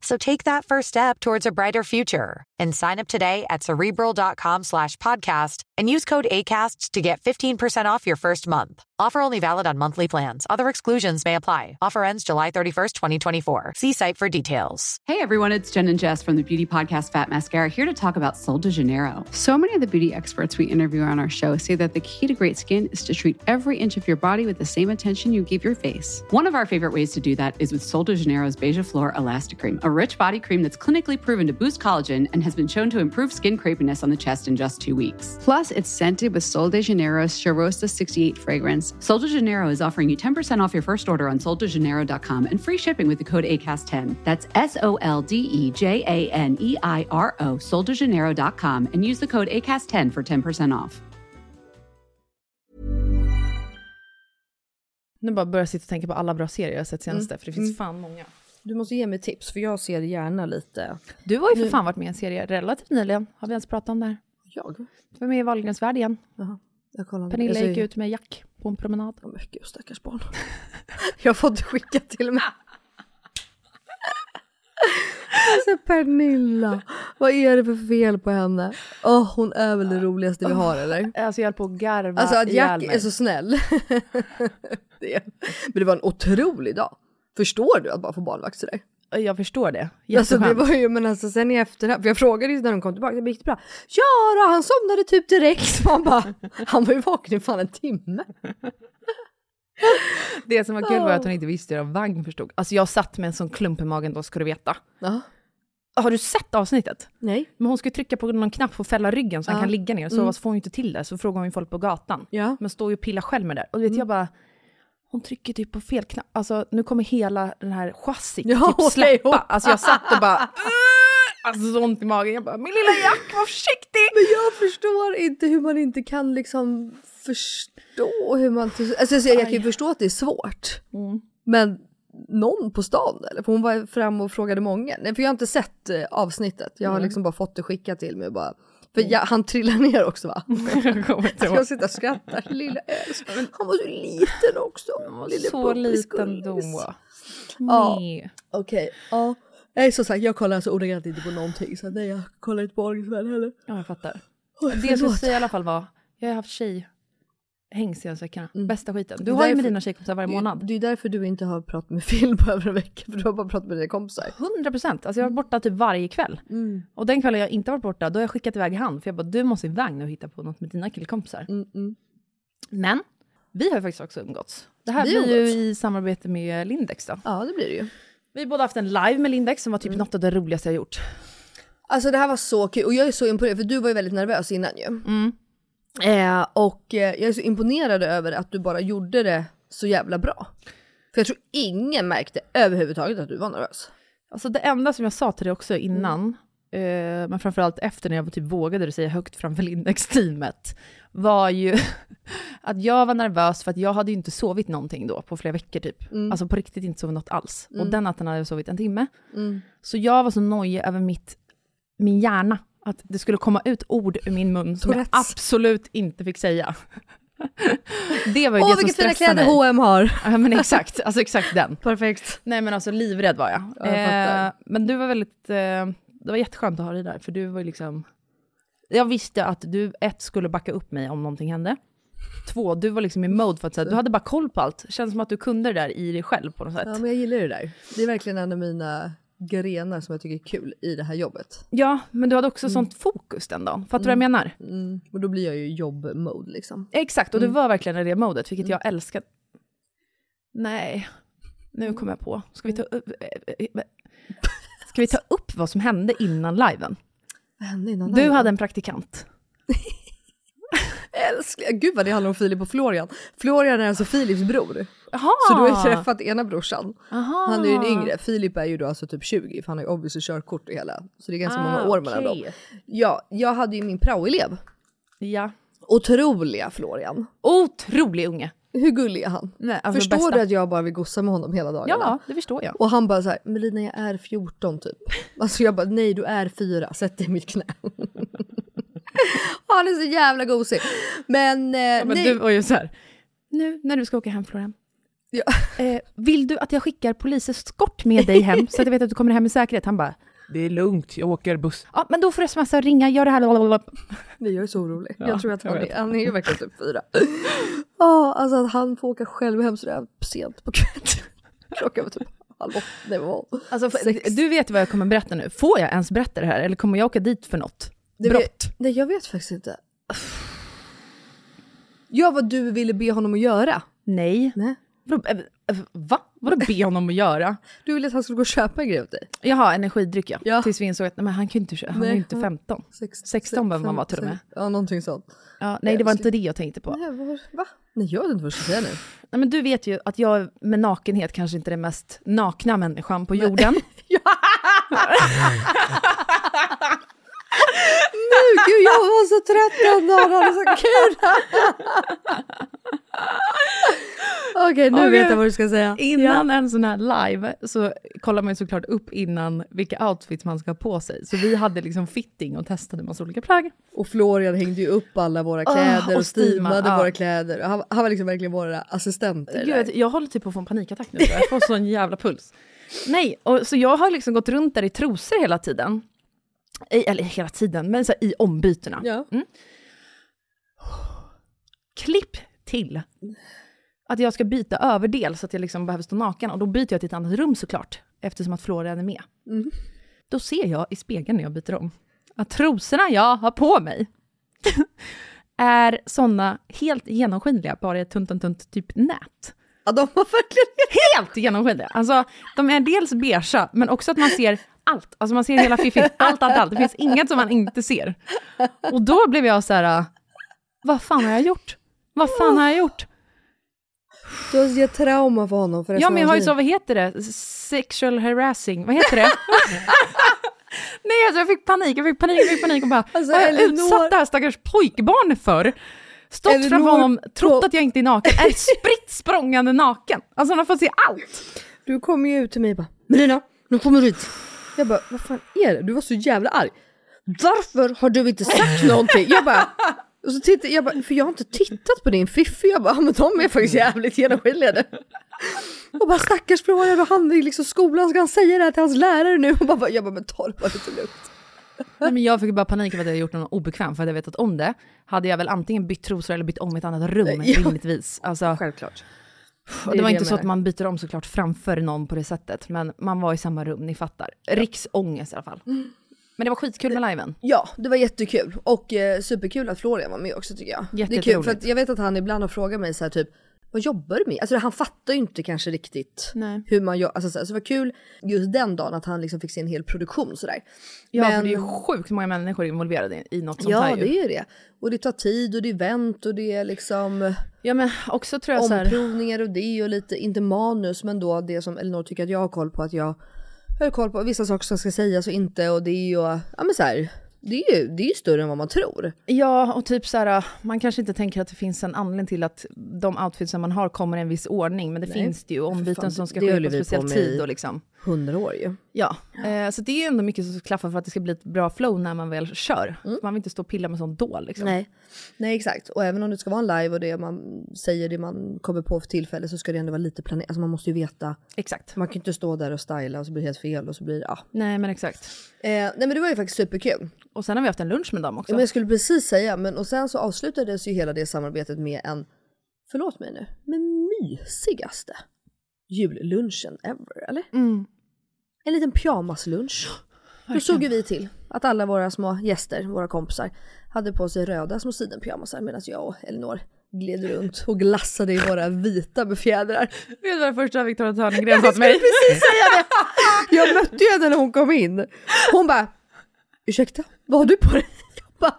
Speaker 12: So take that first step towards a brighter future and sign up today at cerebral.com slash podcast and use code ACAST to get 15% off your first month. Offer only valid on monthly plans. Other exclusions may apply. Offer ends July 31st, 2024. See site for details.
Speaker 1: Hey everyone, it's Jen and Jess from the beauty podcast Fat Mascara here to talk about Sol de Janeiro.
Speaker 13: So many of the beauty experts we interview on our show say that the key to great skin is to treat every inch of your body with the same attention you give your face.
Speaker 1: One of our favorite ways to do that is with Sol de Janeiro's Beija Flor Elasticream, a rich body cream that's clinically proven to boost collagen and has been shown to improve skin crepiness on the chest in just two weeks.
Speaker 13: Plus, it's scented with Sol de Janeiro's Charosta 68 fragrance.
Speaker 1: Sol de Janeiro is offering you 10% off your first order on soldejaneiro.com and free shipping with the code ACAST10. That's S O L D E J A N E I R O, soldejaneiro.com, and use the code ACAST10 for 10% off.
Speaker 4: Nu bara börjar jag sitta och tänka på alla bra serier jag har
Speaker 3: Mm.
Speaker 4: sett senaste, för det finns fan många.
Speaker 3: Du måste ge mig tips för jag ser gärna lite.
Speaker 4: Du har ju för fan varit med i en serie relativt nyligen. Har vi ens pratat om det här?
Speaker 3: Jag?
Speaker 4: Du var med i Wahlgrens
Speaker 3: Mm,
Speaker 4: värld igen.
Speaker 3: Jag kollar inte.
Speaker 4: Pernilla
Speaker 3: Jag ser-
Speaker 4: gick ut med Jack på en promenad.
Speaker 3: Oh, men gud, stackars barn. jag får inte skicka till mig. Alltså Pernilla, vad är det för fel på henne? Åh, hon är väl det roligaste vi har eller?
Speaker 4: Alltså jag höll på att garva
Speaker 3: Alltså att
Speaker 4: ihjäl
Speaker 3: Jack
Speaker 4: mig.
Speaker 3: är så snäll. det. Men det var en otrolig dag. Förstår du att bara få barnvakt sådär?
Speaker 4: Jag förstår det.
Speaker 3: Alltså det
Speaker 4: Jätteskönt.
Speaker 3: var ju, men alltså sen i efterhand, för jag frågade ju när de kom tillbaka, det gick det bra? Ja då, han somnade typ direkt. Så man bara, han var ju vaken i fan en timme.
Speaker 4: Det som var kul var att hon inte visste hur en vagn förstod. Alltså jag satt med en sån klump i magen då, ska du veta. Har du sett avsnittet?
Speaker 3: Nej.
Speaker 4: Men hon ska ju trycka på någon knapp för att fälla ryggen så
Speaker 3: Ja.
Speaker 4: han kan ligga ner. och Så
Speaker 3: Mm.
Speaker 4: får hon ju inte till det, så frågar hon ju folk på gatan.
Speaker 3: Ja.
Speaker 4: Men står ju och pillar själv med det där. Och du vet, jag bara... Hon trycker typ på fel knapp. Alltså nu kommer hela den här chassit
Speaker 3: Ja,
Speaker 4: typ släppa. Alltså jag satt och bara... Alltså så ont i magen. Jag bara, min lilla Jack, var försiktig!
Speaker 3: Men jag förstår inte hur man inte kan liksom förstå hur man... Alltså jag, jag kan ju förstå att det är svårt.
Speaker 4: Mm.
Speaker 3: Men någon på stan eller? För hon var fram och frågade många. Nej, för jag har inte sett eh, avsnittet. Jag har
Speaker 4: Mm.
Speaker 3: liksom bara fått det skickat till mig och bara. För jag, han trillar ner också va?
Speaker 4: jag kommer inte ihåg.
Speaker 3: Jag sitter och skrattar. Lilla älsk. Han var så liten också. Lille
Speaker 4: så
Speaker 3: Puppis
Speaker 4: liten då.
Speaker 3: gullis. Ja, okej. Ja. Nej som sagt jag kollar alltså ordagrant inte på någonting. Så nej jag kollar inte på Ahlgrens värld heller.
Speaker 4: Ja jag fattar.
Speaker 3: Oj,
Speaker 4: det jag skulle
Speaker 3: förlåt.
Speaker 4: säga i alla fall var, jag har haft tjej senaste veckorna. Bästa skiten. Mm. Du
Speaker 3: Det är
Speaker 4: har ju med
Speaker 3: därför-
Speaker 4: dina tjejkompisar varje
Speaker 3: det-
Speaker 4: månad.
Speaker 3: Det är därför du inte har pratat med Phil på över en vecka, för du har bara pratat med dina kompisar.
Speaker 4: 100 procent. Alltså jag har varit borta typ varje kväll.
Speaker 3: Mm.
Speaker 4: Och den kvällen jag inte har varit borta, då har jag skickat iväg han. För jag bara, du måste iväg nu och hitta på något med dina killkompisar. Men, vi har ju faktiskt också umgåtts. Det här
Speaker 3: Vi
Speaker 4: blir ju
Speaker 3: umgåtts.
Speaker 4: i samarbete med Lindex då.
Speaker 3: Ja, det blir det ju.
Speaker 4: Vi har båda haft en live med Lindex som var typ något av det roligaste jag gjort.
Speaker 3: Alltså det här var så kul, och jag är så imponerad, för du var ju väldigt nervös innan ju. Eh, och eh, jag är så imponerad över att du bara gjorde det så jävla bra. För jag tror ingen märkte överhuvudtaget att du var nervös.
Speaker 4: Alltså det enda som jag sa till dig också
Speaker 3: Mm.
Speaker 4: innan, eh, men framförallt efter när jag typ vågade det säga högt framför Lindex-teamet, var ju att jag var nervös för att jag hade ju inte sovit någonting då på flera veckor typ.
Speaker 3: Mm.
Speaker 4: Alltså på riktigt inte sovit något alls.
Speaker 3: Mm.
Speaker 4: Och den natten hade jag sovit en timme.
Speaker 3: Mm.
Speaker 4: Så jag var så nojig över mitt, min hjärna, att det skulle komma ut ord ur min mun som jag
Speaker 3: Tourettes.
Speaker 4: absolut inte fick säga. det var ju
Speaker 3: Åh
Speaker 4: det som
Speaker 3: vilka fina
Speaker 4: stressade
Speaker 3: kläder
Speaker 4: mig.
Speaker 3: H&M har!
Speaker 4: Ja men exakt, alltså exakt den.
Speaker 3: Perfekt.
Speaker 4: Nej men alltså livrädd var jag.
Speaker 3: Ja, jag fattar.
Speaker 4: eh, men du var väldigt, eh, det var jätteskönt att ha dig där, för du var ju liksom, jag visste att du ett skulle backa upp mig om någonting hände. Två, du var liksom i mode för att säga, du hade bara koll på allt. Känns som att du kunde det där i dig själv på något sätt.
Speaker 3: Ja men jag gillar det där. Det är verkligen en av mina grenar som jag tycker är kul i det här jobbet.
Speaker 4: Ja, men du hade också sånt fokus den dagen. Fattar du vad jag menar?
Speaker 3: Mm. Och då blir jag ju jobb-mode liksom.
Speaker 4: Exakt, och du var verkligen i det modet, vilket jag älskar. Mm. Mm. Nej, nu kommer jag på. Ska vi ta upp, eh, ska vi ta upp vad som hände innan liven?
Speaker 3: Vad hände innan
Speaker 4: Du
Speaker 3: den?
Speaker 4: hade en praktikant.
Speaker 3: Älskling, gud vad det handlar om Filip och Florian. Florian är alltså Filips bror.
Speaker 4: Jaha!
Speaker 3: Så du har ju träffat ena brorsan.
Speaker 4: Ah. Aha.
Speaker 3: Han är ju den yngre. Filip är ju då alltså typ 20 för han har ju obviously körkort och hela. Så det är ganska
Speaker 4: Ah,
Speaker 3: många år mellan dem. Ja, jag hade ju min praoelev.
Speaker 4: Ja.
Speaker 3: Otroliga Florian.
Speaker 4: Otrolig unge.
Speaker 3: Hur gullig är han?
Speaker 4: Nej, alltså
Speaker 3: Förstår
Speaker 4: bästa.
Speaker 3: du att jag bara vill gossa med honom hela dagarna?
Speaker 4: Ja, det förstår jag.
Speaker 3: Och han bara så här, Melina jag är 14 typ. Alltså jag bara, nej du är fyra, sätt dig i mitt knä. han är så jävla gosig. Men, eh,
Speaker 4: Ja, men
Speaker 3: nej.
Speaker 4: du var ju så här, nu när du ska åka hem Florian,
Speaker 3: Ja.
Speaker 4: eh, vill du att jag skickar poliseskort med dig hem så att jag vet att du kommer hem i säkerhet? Han bara,
Speaker 8: Det är lugnt, jag åker buss.
Speaker 4: ja men då får du smsa och ringa, gör det här, blablabla."
Speaker 3: Nej, jag är så orolig.
Speaker 8: Ja,
Speaker 3: jag tror att han,
Speaker 8: jag vet.
Speaker 3: är, han är ju verkligen typ fyra. Ja, alltså att han får åka själv hem sådär sent på kvällen. Klockan var typ halv åtta. Nej, vad var det?
Speaker 4: Alltså, för-
Speaker 3: Sex.
Speaker 4: du vet vad jag kommer berätta nu. Får jag ens berätta det här eller kommer jag åka dit för något?
Speaker 3: Det
Speaker 4: Brott?
Speaker 3: Vet, nej, jag vet faktiskt inte. Ja, vad du ville be honom att göra.
Speaker 4: Nej.
Speaker 3: Nej.
Speaker 4: Vadå, eh, eh, Va? Vadå be honom att göra?
Speaker 3: Du ville att han skulle gå och köpa en grej åt dig.
Speaker 4: Jaha, energidryck ja.
Speaker 3: Ja.
Speaker 4: Tills vi insåg att nej, men han kan ju inte köpa, han är
Speaker 3: Nej,
Speaker 4: ju inte
Speaker 3: han-
Speaker 4: 15.
Speaker 3: Sex,
Speaker 4: 16 behöver man vara till och med.
Speaker 3: Ja, någonting sånt.
Speaker 4: Ja, nej, det var inte det jag tänkte på.
Speaker 3: Nej, vad- va? Nej, jag vet inte vad jag ska säga nu.
Speaker 4: Nej, men du vet ju att jag med nakenhet kanske inte är den mest nakna människan på jorden.
Speaker 3: Nu, gud, jag var så trött den dagen. Det var så kul. Åh Okej, nu
Speaker 4: Och
Speaker 3: vet jag vad du ska säga.
Speaker 4: Innan en sån här live så kollar man ju såklart upp innan vilka outfits man ska ha på sig. Så vi hade liksom fitting och testade massa olika plagg.
Speaker 3: Och Florian hängde ju upp alla våra kläder
Speaker 4: Ah, och
Speaker 3: och, steamade
Speaker 4: steamade, ja.
Speaker 3: våra kläder. Han, han var liksom verkligen våra assistenter.
Speaker 4: Gud, jag- jag håller typ på att få en panikattack nu, tror jag Jag får sån jävla puls. Nej, och, så jag har liksom gått runt där i trosor hela tiden. I, eller hela tiden, men så här, i ombytena. Mm. Klipp till att jag ska byta överdel så att jag liksom behöver stå naken. Och då byter jag till ett annat rum såklart, eftersom att Florian är med.
Speaker 3: Mm.
Speaker 4: Då ser jag i spegeln när jag byter om att trosorna jag har på mig är såna helt genomskinliga, bara i ett tunt, tunt, tunt typ nät.
Speaker 3: Ja, de var verkligen
Speaker 4: helt genomskinliga. Alltså, de är dels beiga, men också att man ser allt. Alltså man ser hela fiffigt, allt, allt, allt. Det finns inget som man inte ser. Och då blev jag så här, vad fan har jag gjort? Vad fan har jag gjort?
Speaker 3: Du har gett trauma för honom för resten
Speaker 4: Ja, men jag
Speaker 3: av
Speaker 4: har ju
Speaker 3: hans
Speaker 4: så,
Speaker 3: liv.
Speaker 4: vad heter det? Sexual harassing, vad heter det? Nej, alltså jag fick panik, jag fick panik, jag fick panik och bara,
Speaker 3: Alltså,
Speaker 4: vad har jag
Speaker 3: Elinor-
Speaker 4: utsatt det här stackars pojkbarnet för? Stått framför
Speaker 3: Elinor-
Speaker 4: honom, trott att jag inte är naken, är spritt språngande naken. Alltså han har fått se allt.
Speaker 3: Du kom ju ut till mig och bara “Melina, nu kommer du hit”. Jag bara “Vad fan är det?” Du var så jävla arg. “Varför har du inte sagt någonting?” Jag bara och så tittade, jag bara, för jag har inte tittat på din fiffi, jag bara, "Ja, men de är faktiskt jävligt genomskinliga nu. Och bara stackars Florian, och han är liksom skolan, ska han säga det här till hans lärare nu? Och bara, jag bara, men ta det bara lite lugnt.
Speaker 4: Nej, men jag fick bara panik över att jag hade gjort någon obekväm, för hade jag vetat om det hade jag väl antingen bytt trosor eller bytt om i ett annat rum
Speaker 3: Ja.
Speaker 4: rimligtvis. Alltså,
Speaker 3: Självklart.
Speaker 4: Det,
Speaker 3: Det är
Speaker 4: var
Speaker 3: det
Speaker 4: inte
Speaker 3: jag
Speaker 4: så att
Speaker 3: menar.
Speaker 4: man byter om såklart framför någon på det sättet, men man var i samma rum, ni fattar. Riksångest i alla fall. Men det var skitkul med liven.
Speaker 3: Ja, det var jättekul och eh, superkul att Florian var med också tycker jag. Det är kul
Speaker 4: Jätteroligt.
Speaker 3: för att jag vet att han ibland har frågat mig så här typ vad jobbar du med? Alltså han fattar ju inte kanske riktigt
Speaker 4: Nej.
Speaker 3: hur man gör. Alltså, så, här, så det var kul just den dagen att han liksom fick se en hel produktion sådär.
Speaker 4: Ja, för det är ju sjukt många människor involverade i något sånt här
Speaker 3: Ja,
Speaker 4: ju.
Speaker 3: det är det. Och det tar tid och det är event och det är liksom
Speaker 4: Ja, men också tror jag så här-
Speaker 3: omprovningar och det och lite, inte manus men då det som Elinor tycker att jag har koll på att jag har koll på vissa saker som ska sägas och inte och det är ju, ja men så här, det är ju, det är ju större än vad man tror.
Speaker 4: Ja, och typ så här, man kanske inte tänker att det finns en anledning till att de outfits som man har kommer i en viss ordning, men det
Speaker 3: Nej.
Speaker 4: finns det ju,
Speaker 3: För
Speaker 4: ombyten
Speaker 3: fan,
Speaker 4: som ska
Speaker 3: det
Speaker 4: ske
Speaker 3: håller
Speaker 4: på
Speaker 3: vi på
Speaker 4: speciell
Speaker 3: med
Speaker 4: tid
Speaker 3: i-
Speaker 4: och liksom.
Speaker 3: Hundra år ju.
Speaker 4: Ja, eh, så det är ju ändå mycket som klaffar för att det ska bli ett bra flow när man väl kör. Man vill inte stå och pilla med sånt då liksom.
Speaker 3: Mm. Nej. Nej exakt, och även om det ska vara en live och det man säger det man kommer på för tillfället så ska det ändå vara lite planerat, alltså man måste ju veta.
Speaker 4: Exakt.
Speaker 3: Man kan ju inte stå där och styla och så blir det helt fel och så blir det, ja.
Speaker 4: Nej, men exakt.
Speaker 3: Eh, nej men det var ju faktiskt superkul.
Speaker 4: Och sen har vi haft en lunch med dem också.
Speaker 3: Men jag skulle precis säga, men och sen så avslutades ju hela det samarbetet med en, förlåt mig nu, men mysigaste jullunchen ever, eller? En liten pyjamaslunch. Då såg ju vi till att alla våra små gäster, våra kompisar, hade på sig röda små sidenpyjamasar medan jag och Elinor gled runt och glassade i våra vita befjädrar.
Speaker 4: Vet du vad det första Victoria Törngren sa till mig?
Speaker 3: precis säga det! Jag mötte ju henne när hon kom in. Hon bara, ursäkta, vad har du på dig? Jag bara,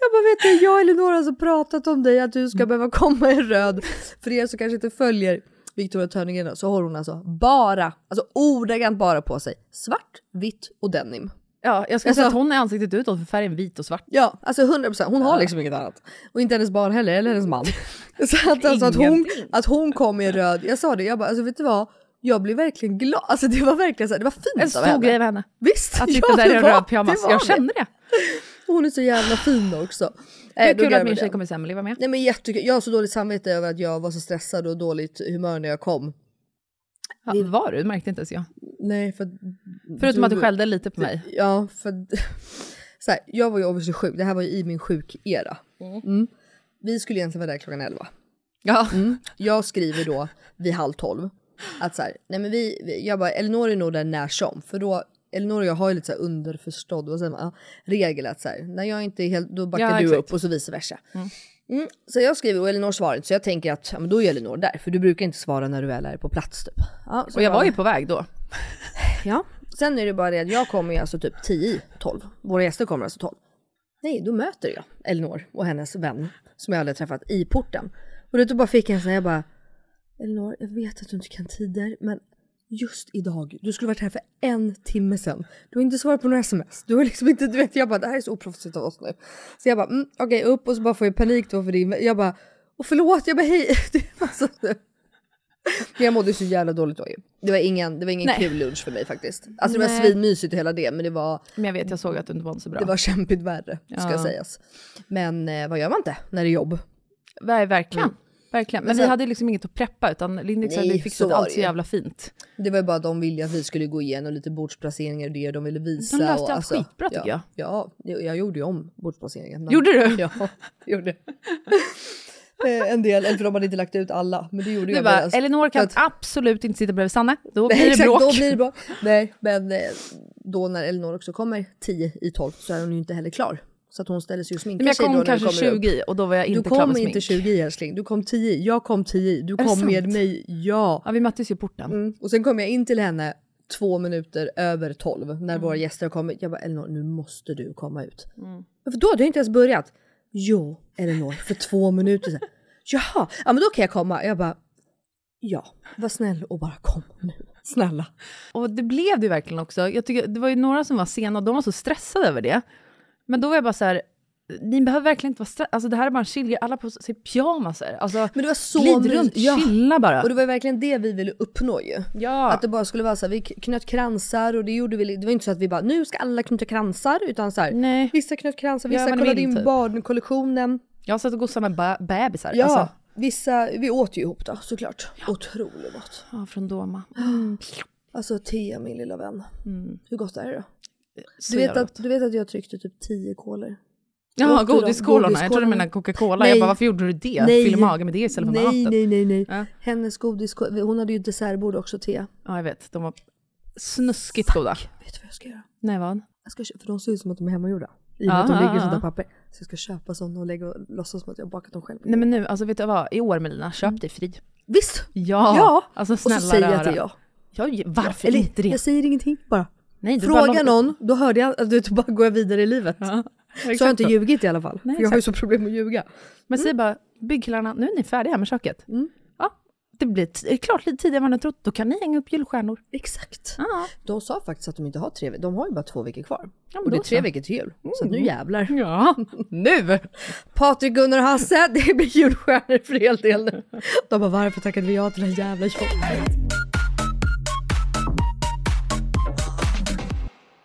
Speaker 3: jag bara vet du, jag och Elinor har alltså pratat om dig att du ska behöva komma i röd. För er som kanske inte följer Victoria Törningen då, så har hon alltså bara, alltså ordagrant bara på sig svart, vitt och denim.
Speaker 4: Ja, jag ska
Speaker 3: Alltså-
Speaker 4: säga att hon är ansiktet utåt för färgen vit och svart.
Speaker 3: Ja, alltså 100%. Hon har liksom inget annat. Och inte hennes barn heller, eller hennes man. Så att, alltså, att, hon,
Speaker 4: Ingenting.
Speaker 3: att hon kom i röd, jag sa det, jag bara alltså vet du vad? Jag blev verkligen glad, alltså det var verkligen så här, det var fint
Speaker 4: En
Speaker 3: av
Speaker 4: stor grej med henne.
Speaker 3: Visst!
Speaker 4: Att sitta
Speaker 3: ja,
Speaker 4: där i
Speaker 3: det
Speaker 4: en
Speaker 3: var-
Speaker 4: röd pyjamas.
Speaker 3: det var
Speaker 4: Jag kände det.
Speaker 3: Hon är så jävla fin också.
Speaker 4: Det
Speaker 3: Eh,
Speaker 4: är
Speaker 3: då
Speaker 4: kul
Speaker 3: garvar
Speaker 4: att min
Speaker 3: jag.
Speaker 4: tjejkompis Emelie var med.
Speaker 3: Nej men jättekul, jag har så dåligt samvete över att jag var så stressad och dåligt humör när jag kom.
Speaker 4: Ja, var du? Märkte inte ens jag.
Speaker 3: Nej för
Speaker 4: Förutom att du skällde lite på mig.
Speaker 3: Ja, för så här, jag var ju obviously sjuk. Det här var ju i min sjukera. Mm. Vi skulle egentligen vara där klockan 11.
Speaker 4: Ja.
Speaker 3: Mm. Jag skriver då vid halv 12 att så här, nej men vi, vi- jag bara Elinor är nog där när som, för då Elinor och jag har ju lite så här underförstådd vad säger man, ja, regel att så här, när jag inte är helt, då backar
Speaker 4: Ja,
Speaker 3: du
Speaker 4: exakt.
Speaker 3: upp och så vice versa. Mm. Så jag skriver och Elinor svarar inte, så jag tänker att ja, men då är Elinor där, för du brukar inte svara när du väl är på plats typ. Ja, så
Speaker 4: Och jag
Speaker 3: bara-
Speaker 4: var ju på väg då.
Speaker 3: Ja. Sen är det bara det att jag kommer ju alltså typ 10 i 12. Våra gäster kommer alltså 12. Nej, då möter jag Elinor och hennes vän som jag aldrig träffat i porten. Och då bara fick jag en sån här, jag bara Elinor, jag vet att du inte kan tider, men just idag, du skulle varit här för en timme sedan. Du har inte svarat på några sms. Du har liksom inte, du vet, jag bara det här är så oproffsigt av oss nu. Så jag bara, mm, okej upp och så bara får jag panik då för din, jag bara, och förlåt, jag bara hej. Det var så- Men jag mådde så jävla dåligt då ju. Det var ingen, det var ingen
Speaker 4: Nej.
Speaker 3: kul lunch för mig faktiskt. Alltså det var
Speaker 4: Nej.
Speaker 3: svinmysigt och hela det men det var...
Speaker 4: Men jag vet, jag såg att du inte mådde så bra.
Speaker 3: Det var kämpigt värre ska
Speaker 4: Ja.
Speaker 3: sägas. Men eh, vad gör man inte när det är jobb?
Speaker 4: Nej, verkligen.
Speaker 3: Mm.
Speaker 4: Verkligen. Men,
Speaker 3: Men
Speaker 4: vi
Speaker 3: sen-
Speaker 4: hade liksom inget att preppa utan Lindex hade fixat
Speaker 3: Alltså- var
Speaker 4: allt
Speaker 3: det
Speaker 4: så
Speaker 3: ju.
Speaker 4: jävla fint.
Speaker 3: Det var ju bara att de ville att vi skulle gå igenom lite bordsplaceringar och det de ville visa.
Speaker 4: De löste
Speaker 3: och alltså,
Speaker 4: allt skitbra, tycker
Speaker 3: ja, jag. Ja, jag- jag gjorde ju om bordsplaceringen.
Speaker 4: Gjorde du?
Speaker 3: Ja, gjorde. Eh, en del, eller för de hade inte lagt ut alla. Men det gjorde
Speaker 4: Du
Speaker 3: jag.
Speaker 4: bara,
Speaker 3: medan-
Speaker 4: Elinor kan
Speaker 3: för att-
Speaker 4: absolut inte sitta bredvid Sanna,
Speaker 3: Nej,
Speaker 4: då blir det
Speaker 3: exakt,
Speaker 4: bråk.
Speaker 3: Då blir det bråk. Nej, men eh, då när Elinor också kommer 10 i 12 så är hon ju inte heller klar. Så att hon ställer sig och
Speaker 4: Men
Speaker 3: sminkar
Speaker 4: jag
Speaker 3: sig då
Speaker 4: kom
Speaker 3: när vi
Speaker 4: kanske
Speaker 3: kommer upp.
Speaker 4: 20 i och då var jag
Speaker 3: Du
Speaker 4: inte klar
Speaker 3: kom
Speaker 4: med
Speaker 3: inte
Speaker 4: smink.
Speaker 3: 20 i älskling, du kom 10 i. Jag kom 10 i. Du
Speaker 4: det
Speaker 3: kom med
Speaker 4: sant?
Speaker 3: mig, ja.
Speaker 4: Ja, vi möttes ju i porten.
Speaker 3: Mm. Och sen kom jag in till henne två minuter över 12 när våra gäster har kommit. Jag bara Elinor, nu måste du komma ut.
Speaker 4: Mm.
Speaker 3: Men för då hade jag inte ens börjat. Jo, Elinor, för två minuter sedan. Jaha, ja men då kan jag komma. Jag bara, ja, var snäll och bara kom nu. Snälla.
Speaker 4: Och det blev det ju verkligen också. Jag tycker, det var ju några som var sena och de var så stressade över det. Men då var jag bara så här, ni behöver verkligen inte vara stressade. Alltså det här är bara en chill grej. alla har på sig pyjamaser. Alltså,
Speaker 3: Men det var så
Speaker 4: glid
Speaker 3: mys-
Speaker 4: runt,
Speaker 3: ja.
Speaker 4: chilla bara.
Speaker 3: Och det var ju verkligen det vi ville uppnå ju.
Speaker 4: Ja.
Speaker 3: Att det bara skulle vara så här, vi knöt kransar och det gjorde vi, det var inte så att vi bara nu ska alla knyta kransar utan så här, vissa knöt kransar,
Speaker 4: Gör
Speaker 3: vissa
Speaker 4: vad ni
Speaker 3: kollade
Speaker 4: vill,
Speaker 3: in
Speaker 4: typ.
Speaker 3: barnkollektionen.
Speaker 4: Jag satt och gosade med ba- bebisar.
Speaker 3: Ja,
Speaker 4: Alltså,
Speaker 3: vissa, vi åt ju ihop då såklart. Otroligt gott.
Speaker 4: ja, från Doma.
Speaker 3: Alltså Thea min lilla vän,
Speaker 4: Mm.
Speaker 3: hur gott är det då?
Speaker 4: Så
Speaker 3: Du vet,
Speaker 4: jävla
Speaker 3: att, du vet att jag tryckte typ 10 kolor?
Speaker 4: Ja,
Speaker 3: Åt du dem?
Speaker 4: godiskolorna. Jag trodde du menade Coca-Cola. Jag
Speaker 3: Nej.
Speaker 4: bara, varför gjorde du det?
Speaker 3: Nej.
Speaker 4: Fyller magen med det istället för
Speaker 3: nej,
Speaker 4: med vatten.
Speaker 3: Nej, nej, nej. Hennes godiskolor, hon hade ju dessertbord också Thea.
Speaker 4: Ja, jag vet. De var snuskigt goda.
Speaker 3: Vet du vad jag ska göra?
Speaker 4: Nej, vad?
Speaker 3: Jag ska, kö- för de ser ut som att de är hemmagjorda. I och med att de
Speaker 4: Ah,
Speaker 3: ligger i
Speaker 4: ah,
Speaker 3: sånt där
Speaker 4: ah.
Speaker 3: papper. Så jag ska köpa sådana och lägga och låtsas som att jag har bakat dem själv.
Speaker 4: Nej, men nu, alltså vet du vad? I år, Melina, köp dig fri.
Speaker 3: Visst!
Speaker 4: Ja!
Speaker 3: Mm. Ja.
Speaker 4: Alltså
Speaker 3: Och så
Speaker 4: snälla
Speaker 3: säger jag
Speaker 4: röra.
Speaker 3: att det är jag.
Speaker 4: Ja, ju- varför
Speaker 3: Eller,
Speaker 4: inte det?
Speaker 3: Jag säger ingenting bara.
Speaker 4: Nej, du
Speaker 3: Fråga
Speaker 4: bara-
Speaker 3: någon, då hörde jag att du då bara går jag vidare i livet. så
Speaker 4: exakt
Speaker 3: har jag inte Mm.
Speaker 4: så.
Speaker 3: ljugit i alla fall.
Speaker 4: Nej,
Speaker 3: för jag har ju så
Speaker 4: exakt.
Speaker 3: problem med att ljuga.
Speaker 4: Men säg bara, byggkillarna, nu är ni färdiga med köket.
Speaker 3: Mm.
Speaker 4: Ja, det blir t- eh, klart lite tidigare än vad ni har trott. Då kan ni hänga upp julstjärnor.
Speaker 3: Exakt. De sa faktiskt att de inte har tre veckor, de har ju bara två veckor kvar.
Speaker 4: men
Speaker 3: och det är
Speaker 4: då
Speaker 3: tre
Speaker 4: så.
Speaker 3: veckor till jul. Så att
Speaker 4: Mm.
Speaker 3: nu jävlar.
Speaker 4: Ja, nu!
Speaker 3: Patrik, Gunnar och Hasse, det blir julstjärnor för hel del nu. De bara varför tackade vi ja till det här jävla jobbet?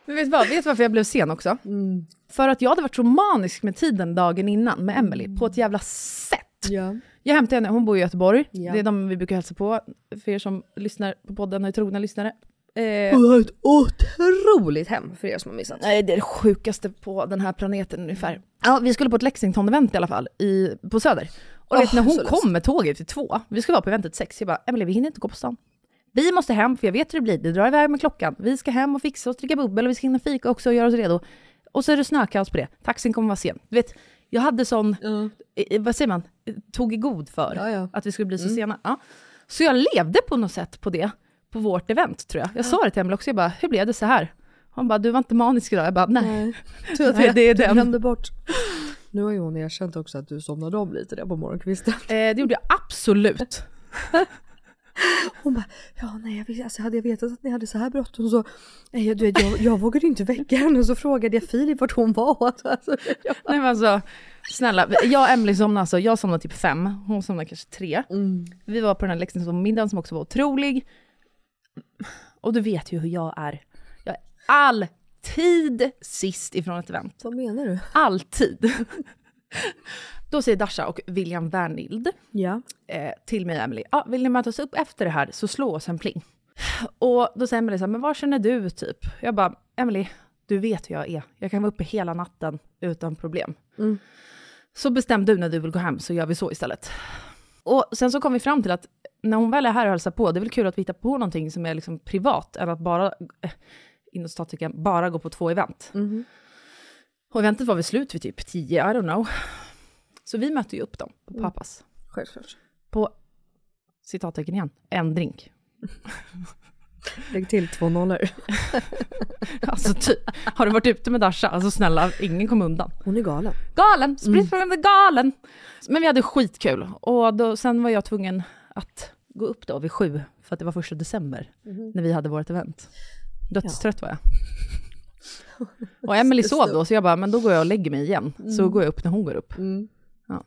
Speaker 4: Men vet du vad? Vet du varför jag blev sen också?
Speaker 3: Mm.
Speaker 4: För att jag hade varit så manisk med tiden dagen innan med Emily på ett jävla sätt.
Speaker 3: Eh,
Speaker 4: Jag hämtade henne, hon bor i Göteborg.
Speaker 3: Ja.
Speaker 4: Det är de vi brukar hälsa på, för er som lyssnar på podden och är trogna lyssnare. Eh,
Speaker 3: Hon har ett otroligt hem för er som har missat.
Speaker 4: Nej, det är det sjukaste på den här planeten ungefär. Ja, vi skulle på ett Lexington-event i alla fall, i, på Söder. Och
Speaker 3: Åh,
Speaker 4: vet, när
Speaker 3: jag är
Speaker 4: hon
Speaker 3: så
Speaker 4: kom
Speaker 3: ledsen.
Speaker 4: med tåget till två, vi skulle vara på eventet sex, jag bara, Emelie vi hinner inte gå på stan. Vi måste hem, för jag vet hur det blir, det drar iväg med klockan. Vi ska hem och fixa oss, dricka bubbel och vi ska hinna fika också och göra oss redo. Och så är det snökaos på det, taxin kommer vara sen. Du vet, jag hade sån, eh, eh, vad säger man, Eh, tog i god för att vi skulle bli så
Speaker 3: Mm.
Speaker 4: sena. Ja. Så jag levde på något sätt på det, på vårt event tror jag. Jag sa det till Emelie också, jag bara, hur blev det så här? Hon bara, du var inte manisk idag. Jag bara, nej.
Speaker 3: Tur att
Speaker 4: Nej,
Speaker 3: jag-
Speaker 4: det är
Speaker 3: du
Speaker 4: den.
Speaker 3: glömde bort. Nu har ju hon erkänt också att du somnade om lite där på morgonkvisten.
Speaker 4: Eh, det gjorde jag absolut.
Speaker 3: Hon bara, ja nej jag visste, alltså, hade jag vetat att ni hade så här bråttom så, nej, jag, du vet, jag, jag vågade inte väcka henne så frågade jag Filip vart hon var. Alltså, jag,
Speaker 4: Nej men alltså, snälla. Jag och Emily somnade alltså, jag somnade typ fem, hon somnade kanske tre. Vi var på den här Lexington-middagen som också var otrolig. Och du vet ju hur jag är. Jag är alltid sist ifrån ett event.
Speaker 3: vad menar du?
Speaker 4: Alltid. Då säger Dasha och William Wernild
Speaker 3: Ja.
Speaker 4: eh, till mig och Emily, ah, vill ni mötas upp efter det här så slå oss en pling. Och då säger Emily så här, men vad känner du typ? Jag bara, Emily, du vet hur jag är. Jag kan vara uppe hela natten utan problem.
Speaker 3: Mm.
Speaker 4: Så bestäm du när du vill gå hem så gör vi så istället. Och sen så kom vi fram till att när hon väl är här och hälsar på, det är väl kul att vi hittar på någonting som är liksom privat, än att bara, eh, inom statiken, bara gå på två event.
Speaker 3: Mm-hmm.
Speaker 4: Och eventet var väl slut vid typ 10, I don't know. Så vi mötte ju upp dem på
Speaker 3: Mm.
Speaker 4: pappas.
Speaker 3: Självklart.
Speaker 4: På, citattecken igen, en drink.
Speaker 3: Lägg till två nollor.
Speaker 4: Alltså typ, har du varit ute med Dasha? Alltså snälla, ingen kom undan.
Speaker 3: Hon är galen.
Speaker 4: Galen! Spritspelaren är galen! Men vi hade skitkul. Och då, sen var jag tvungen att gå upp då vid sju, för att det var första december, när vi hade vårt event. Dödstrött var jag. Och Emily sov då, så jag bara, men då går jag och lägger mig igen. Så
Speaker 3: Mm.
Speaker 4: går jag upp när hon går upp.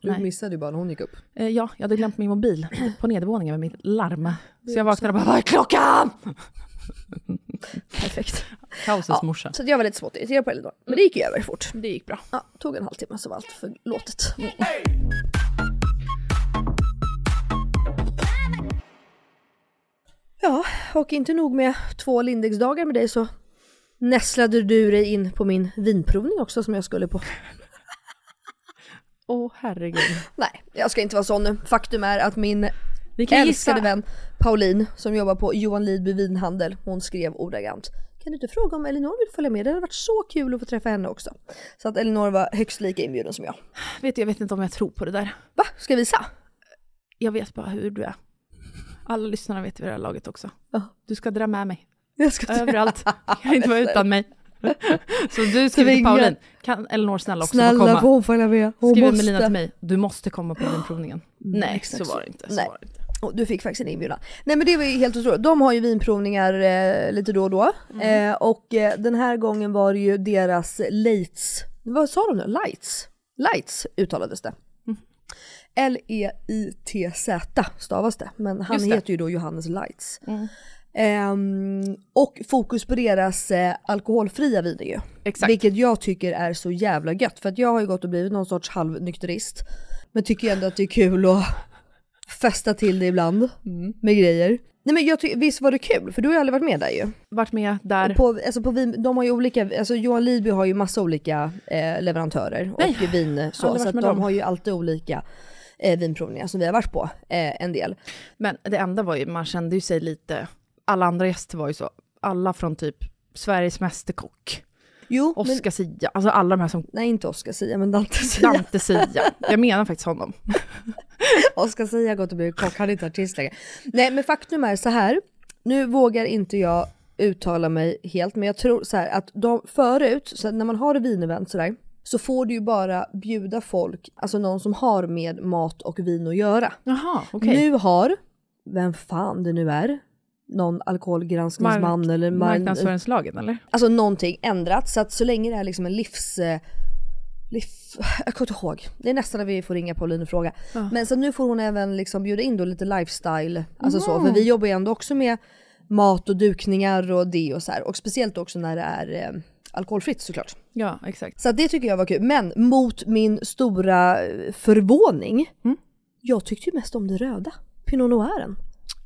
Speaker 3: Du
Speaker 4: nej.
Speaker 3: missade ju bara när hon gick upp.
Speaker 4: Eh, ja, jag hade glömt min mobil typ på nedervåningen med mitt larm. Så jag vaknade och bara, vad är klockan?
Speaker 3: Perfekt.
Speaker 4: Kaosets morsa.
Speaker 3: Så att jag var lite smått irriterad på henne då. Men det gick ju över fort.
Speaker 4: Det gick bra.
Speaker 3: Ja, tog en halvtimme så var allt förlåtet. Ja, och inte nog med två Lindex-dagar med dig så nässlade du dig in på min vinprovning också som jag skulle på.
Speaker 4: Åh herregud.
Speaker 3: Nej, jag ska inte vara sån nu. Faktum är att min
Speaker 4: kan
Speaker 3: älskade vän Pauline som jobbar på Johan Lidby vinhandel, hon skrev ordagrant kan du inte fråga om Elinor vill följa med? Det hade varit så kul att få träffa henne också. Så att Elinor var högst lika inbjuden som jag.
Speaker 4: Vet du, jag vet inte om jag tror på det där.
Speaker 3: Va? Ska jag visa?
Speaker 4: Jag vet bara hur du är. Alla lyssnarna vet vid det här laget också.
Speaker 3: Ja.
Speaker 4: Du ska dra med mig.
Speaker 3: Jag ska dra-
Speaker 4: Överallt. Jag kan inte vara utan mig. Så du skriver till
Speaker 3: Tvinga.
Speaker 4: Pauline. Kan Elinor snälla också få
Speaker 3: Snälla
Speaker 4: komma?
Speaker 3: får hon följa med? Hon
Speaker 4: Skriver
Speaker 3: måste. Mm,
Speaker 4: Melina till mig, du måste komma på vinprovningen. Nej,
Speaker 3: exakt
Speaker 4: så var det inte. Så
Speaker 3: Nej.
Speaker 4: var det inte.
Speaker 3: Och du fick faktiskt en inbjudan. Nej men det var ju helt otroligt. De har ju vinprovningar eh, lite då och då.
Speaker 4: Mm.
Speaker 3: Eh, och eh, den här gången var det ju deras lights. Vad sa de nu? Lights? Lights uttalades det.
Speaker 4: Mm.
Speaker 3: E L-E-I-T-Z stavas det. Men han
Speaker 4: Just det. Mm.
Speaker 3: heter ju då Johannes Lights. Ehm, och fokus på deras eh, alkoholfria viner ju.
Speaker 4: Exakt.
Speaker 3: Vilket jag tycker är så jävla gött. För att jag har ju gått och blivit någon sorts halvnykterist. Men tycker ju ändå att det är kul att festa till det ibland
Speaker 4: Mm.
Speaker 3: med grejer. Nej men jag ty- visst var det kul? För du har ju aldrig varit med där ju.
Speaker 4: Varit med där.
Speaker 3: På, alltså på vin, de har ju olika, alltså Johan Lidby har ju massa olika eh, leverantörer
Speaker 4: Nej,
Speaker 3: och vin så.
Speaker 4: aldrig
Speaker 3: Så
Speaker 4: varit
Speaker 3: att de
Speaker 4: med dem.
Speaker 3: har ju alltid olika eh, vinprovningar som vi har varit på eh, en del.
Speaker 4: Men det enda var ju, man kände ju sig lite, alla andra gäster var ju så, alla från typ Sveriges Mästerkock,
Speaker 3: Jo, men,
Speaker 4: Oscar Sia, alltså alla de här som
Speaker 3: nej inte Oscar Sia men Dante Sia.
Speaker 4: Dante Sia. Jag menar faktiskt honom.
Speaker 3: Oscar Sia har gått och blivit kock, han är inte artist längre. Nej men faktum är så här, nu vågar inte jag uttala mig helt men jag tror så här att de, förut, så här, när man har ett vinevent sådär, så får du ju bara bjuda folk, alltså någon som har med mat och vin att göra.
Speaker 4: Jaha, okej.
Speaker 3: Nu har, vem fan det nu är, någon alkoholgranskningsman
Speaker 4: Mark-
Speaker 3: eller man,
Speaker 4: Marknadsföringslagen eller?
Speaker 3: alltså någonting ändrats. Så att så länge det är liksom en livs... eh, livs jag kommer inte ihåg. Det är nästan när vi får ringa Pauline och fråga.
Speaker 4: Ja.
Speaker 3: Men så nu får hon även liksom bjuda in då lite lifestyle. Alltså så,
Speaker 4: Mm.
Speaker 3: för vi jobbar ju ändå också med mat och dukningar och det och så här. Och speciellt också när det är eh, alkoholfritt såklart.
Speaker 4: Ja, exakt.
Speaker 3: Så att det tycker jag var kul. Men mot min stora eh, förvåning,
Speaker 4: Mm.
Speaker 3: jag tyckte ju mest om det röda. Pinot noiren.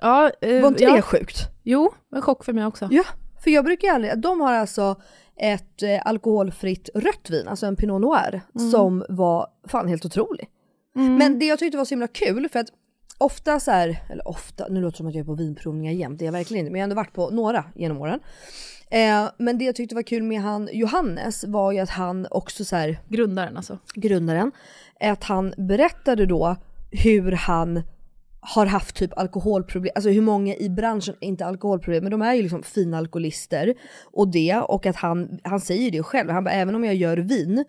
Speaker 4: Ja, eh,
Speaker 3: Var inte
Speaker 4: ja.
Speaker 3: det sjukt?
Speaker 4: Jo, en chock för mig också.
Speaker 3: Ja, för jag brukar ju aldrig, de har alltså ett eh, alkoholfritt rött vin, alltså en Pinot Noir, som var fan helt otrolig. Men det jag tyckte var så himla kul för att ofta så här, eller ofta, nu låter det som att jag är på vinprovningar jämt, det är jag verkligen inte, men jag har ändå varit på några genom åren. Eh, men det jag tyckte var kul med han Johannes var ju att han också så här,
Speaker 4: Grundaren alltså.
Speaker 3: grundaren, är att han berättade då hur han har haft typ alkoholproblem, alltså hur många i branschen, inte alkoholproblem, men de är ju liksom fina alkoholister och det och att han, han säger det själv, han bara även om jag gör vin,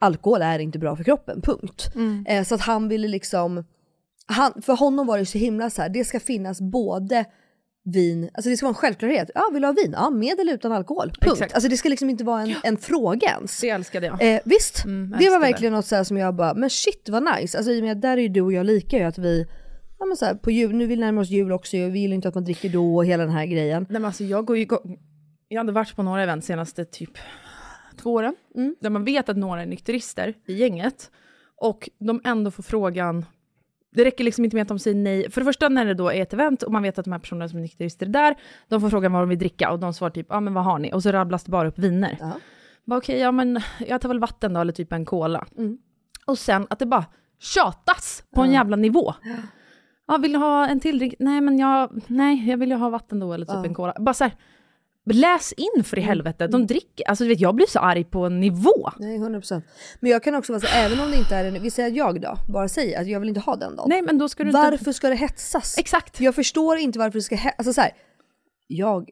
Speaker 3: alkohol är inte bra för kroppen, punkt. Eh, så att han ville liksom, han, för honom var det så himla så här, det ska finnas både vin, alltså det ska vara en självklarhet, ja vill du ha vin? Ja med eller utan alkohol, punkt.
Speaker 4: Exakt.
Speaker 3: Alltså det ska liksom inte vara en, en fråga ens.
Speaker 4: Det älskade jag.
Speaker 3: Eh, visst,
Speaker 4: Mm, jag
Speaker 3: det var
Speaker 4: älskar
Speaker 3: verkligen något så här som jag bara, men shit vad nice. Alltså i och med att där är ju du och jag lika ju att vi, ja men så här, på jul, nu vill vi närma oss jul också ju, vi gillar inte att man dricker då och hela den här grejen.
Speaker 4: Nej men alltså jag går ju igång. Jag hade varit på några event senaste typ två åren. Där man vet att några är nykterister i gänget. Och de ändå får frågan. Det räcker liksom inte med att de säger nej. För det första när det då är ett event och man vet att de här personerna som är nykterister är där. De får frågan vad de vill dricka och de svarar typ, ja ah, men vad har ni? Och så rabblas det bara upp viner.
Speaker 3: Ja.
Speaker 4: Bara okej, ja men jag tar väl vatten då eller typ en cola. Och sen att det bara tjatas på en jävla nivå. Ja, vill du ha en till drink? Nej, men jag, nej, jag vill ju ha vatten då eller typ en cola. Bara så här, läs in
Speaker 3: Mm.
Speaker 4: för i helvete, de dricker. Alltså du vet, jag blir så arg på en nivå.
Speaker 3: Nej 100%. Men jag kan också vara så här, även om det inte är en, vi säger att jag då, bara säger att jag vill inte ha den dagen.
Speaker 4: Nej, men då ska du inte...
Speaker 3: varför ska det hetsas?
Speaker 4: Exakt.
Speaker 3: Jag förstår inte varför det ska hetsas. Alltså så här, jag,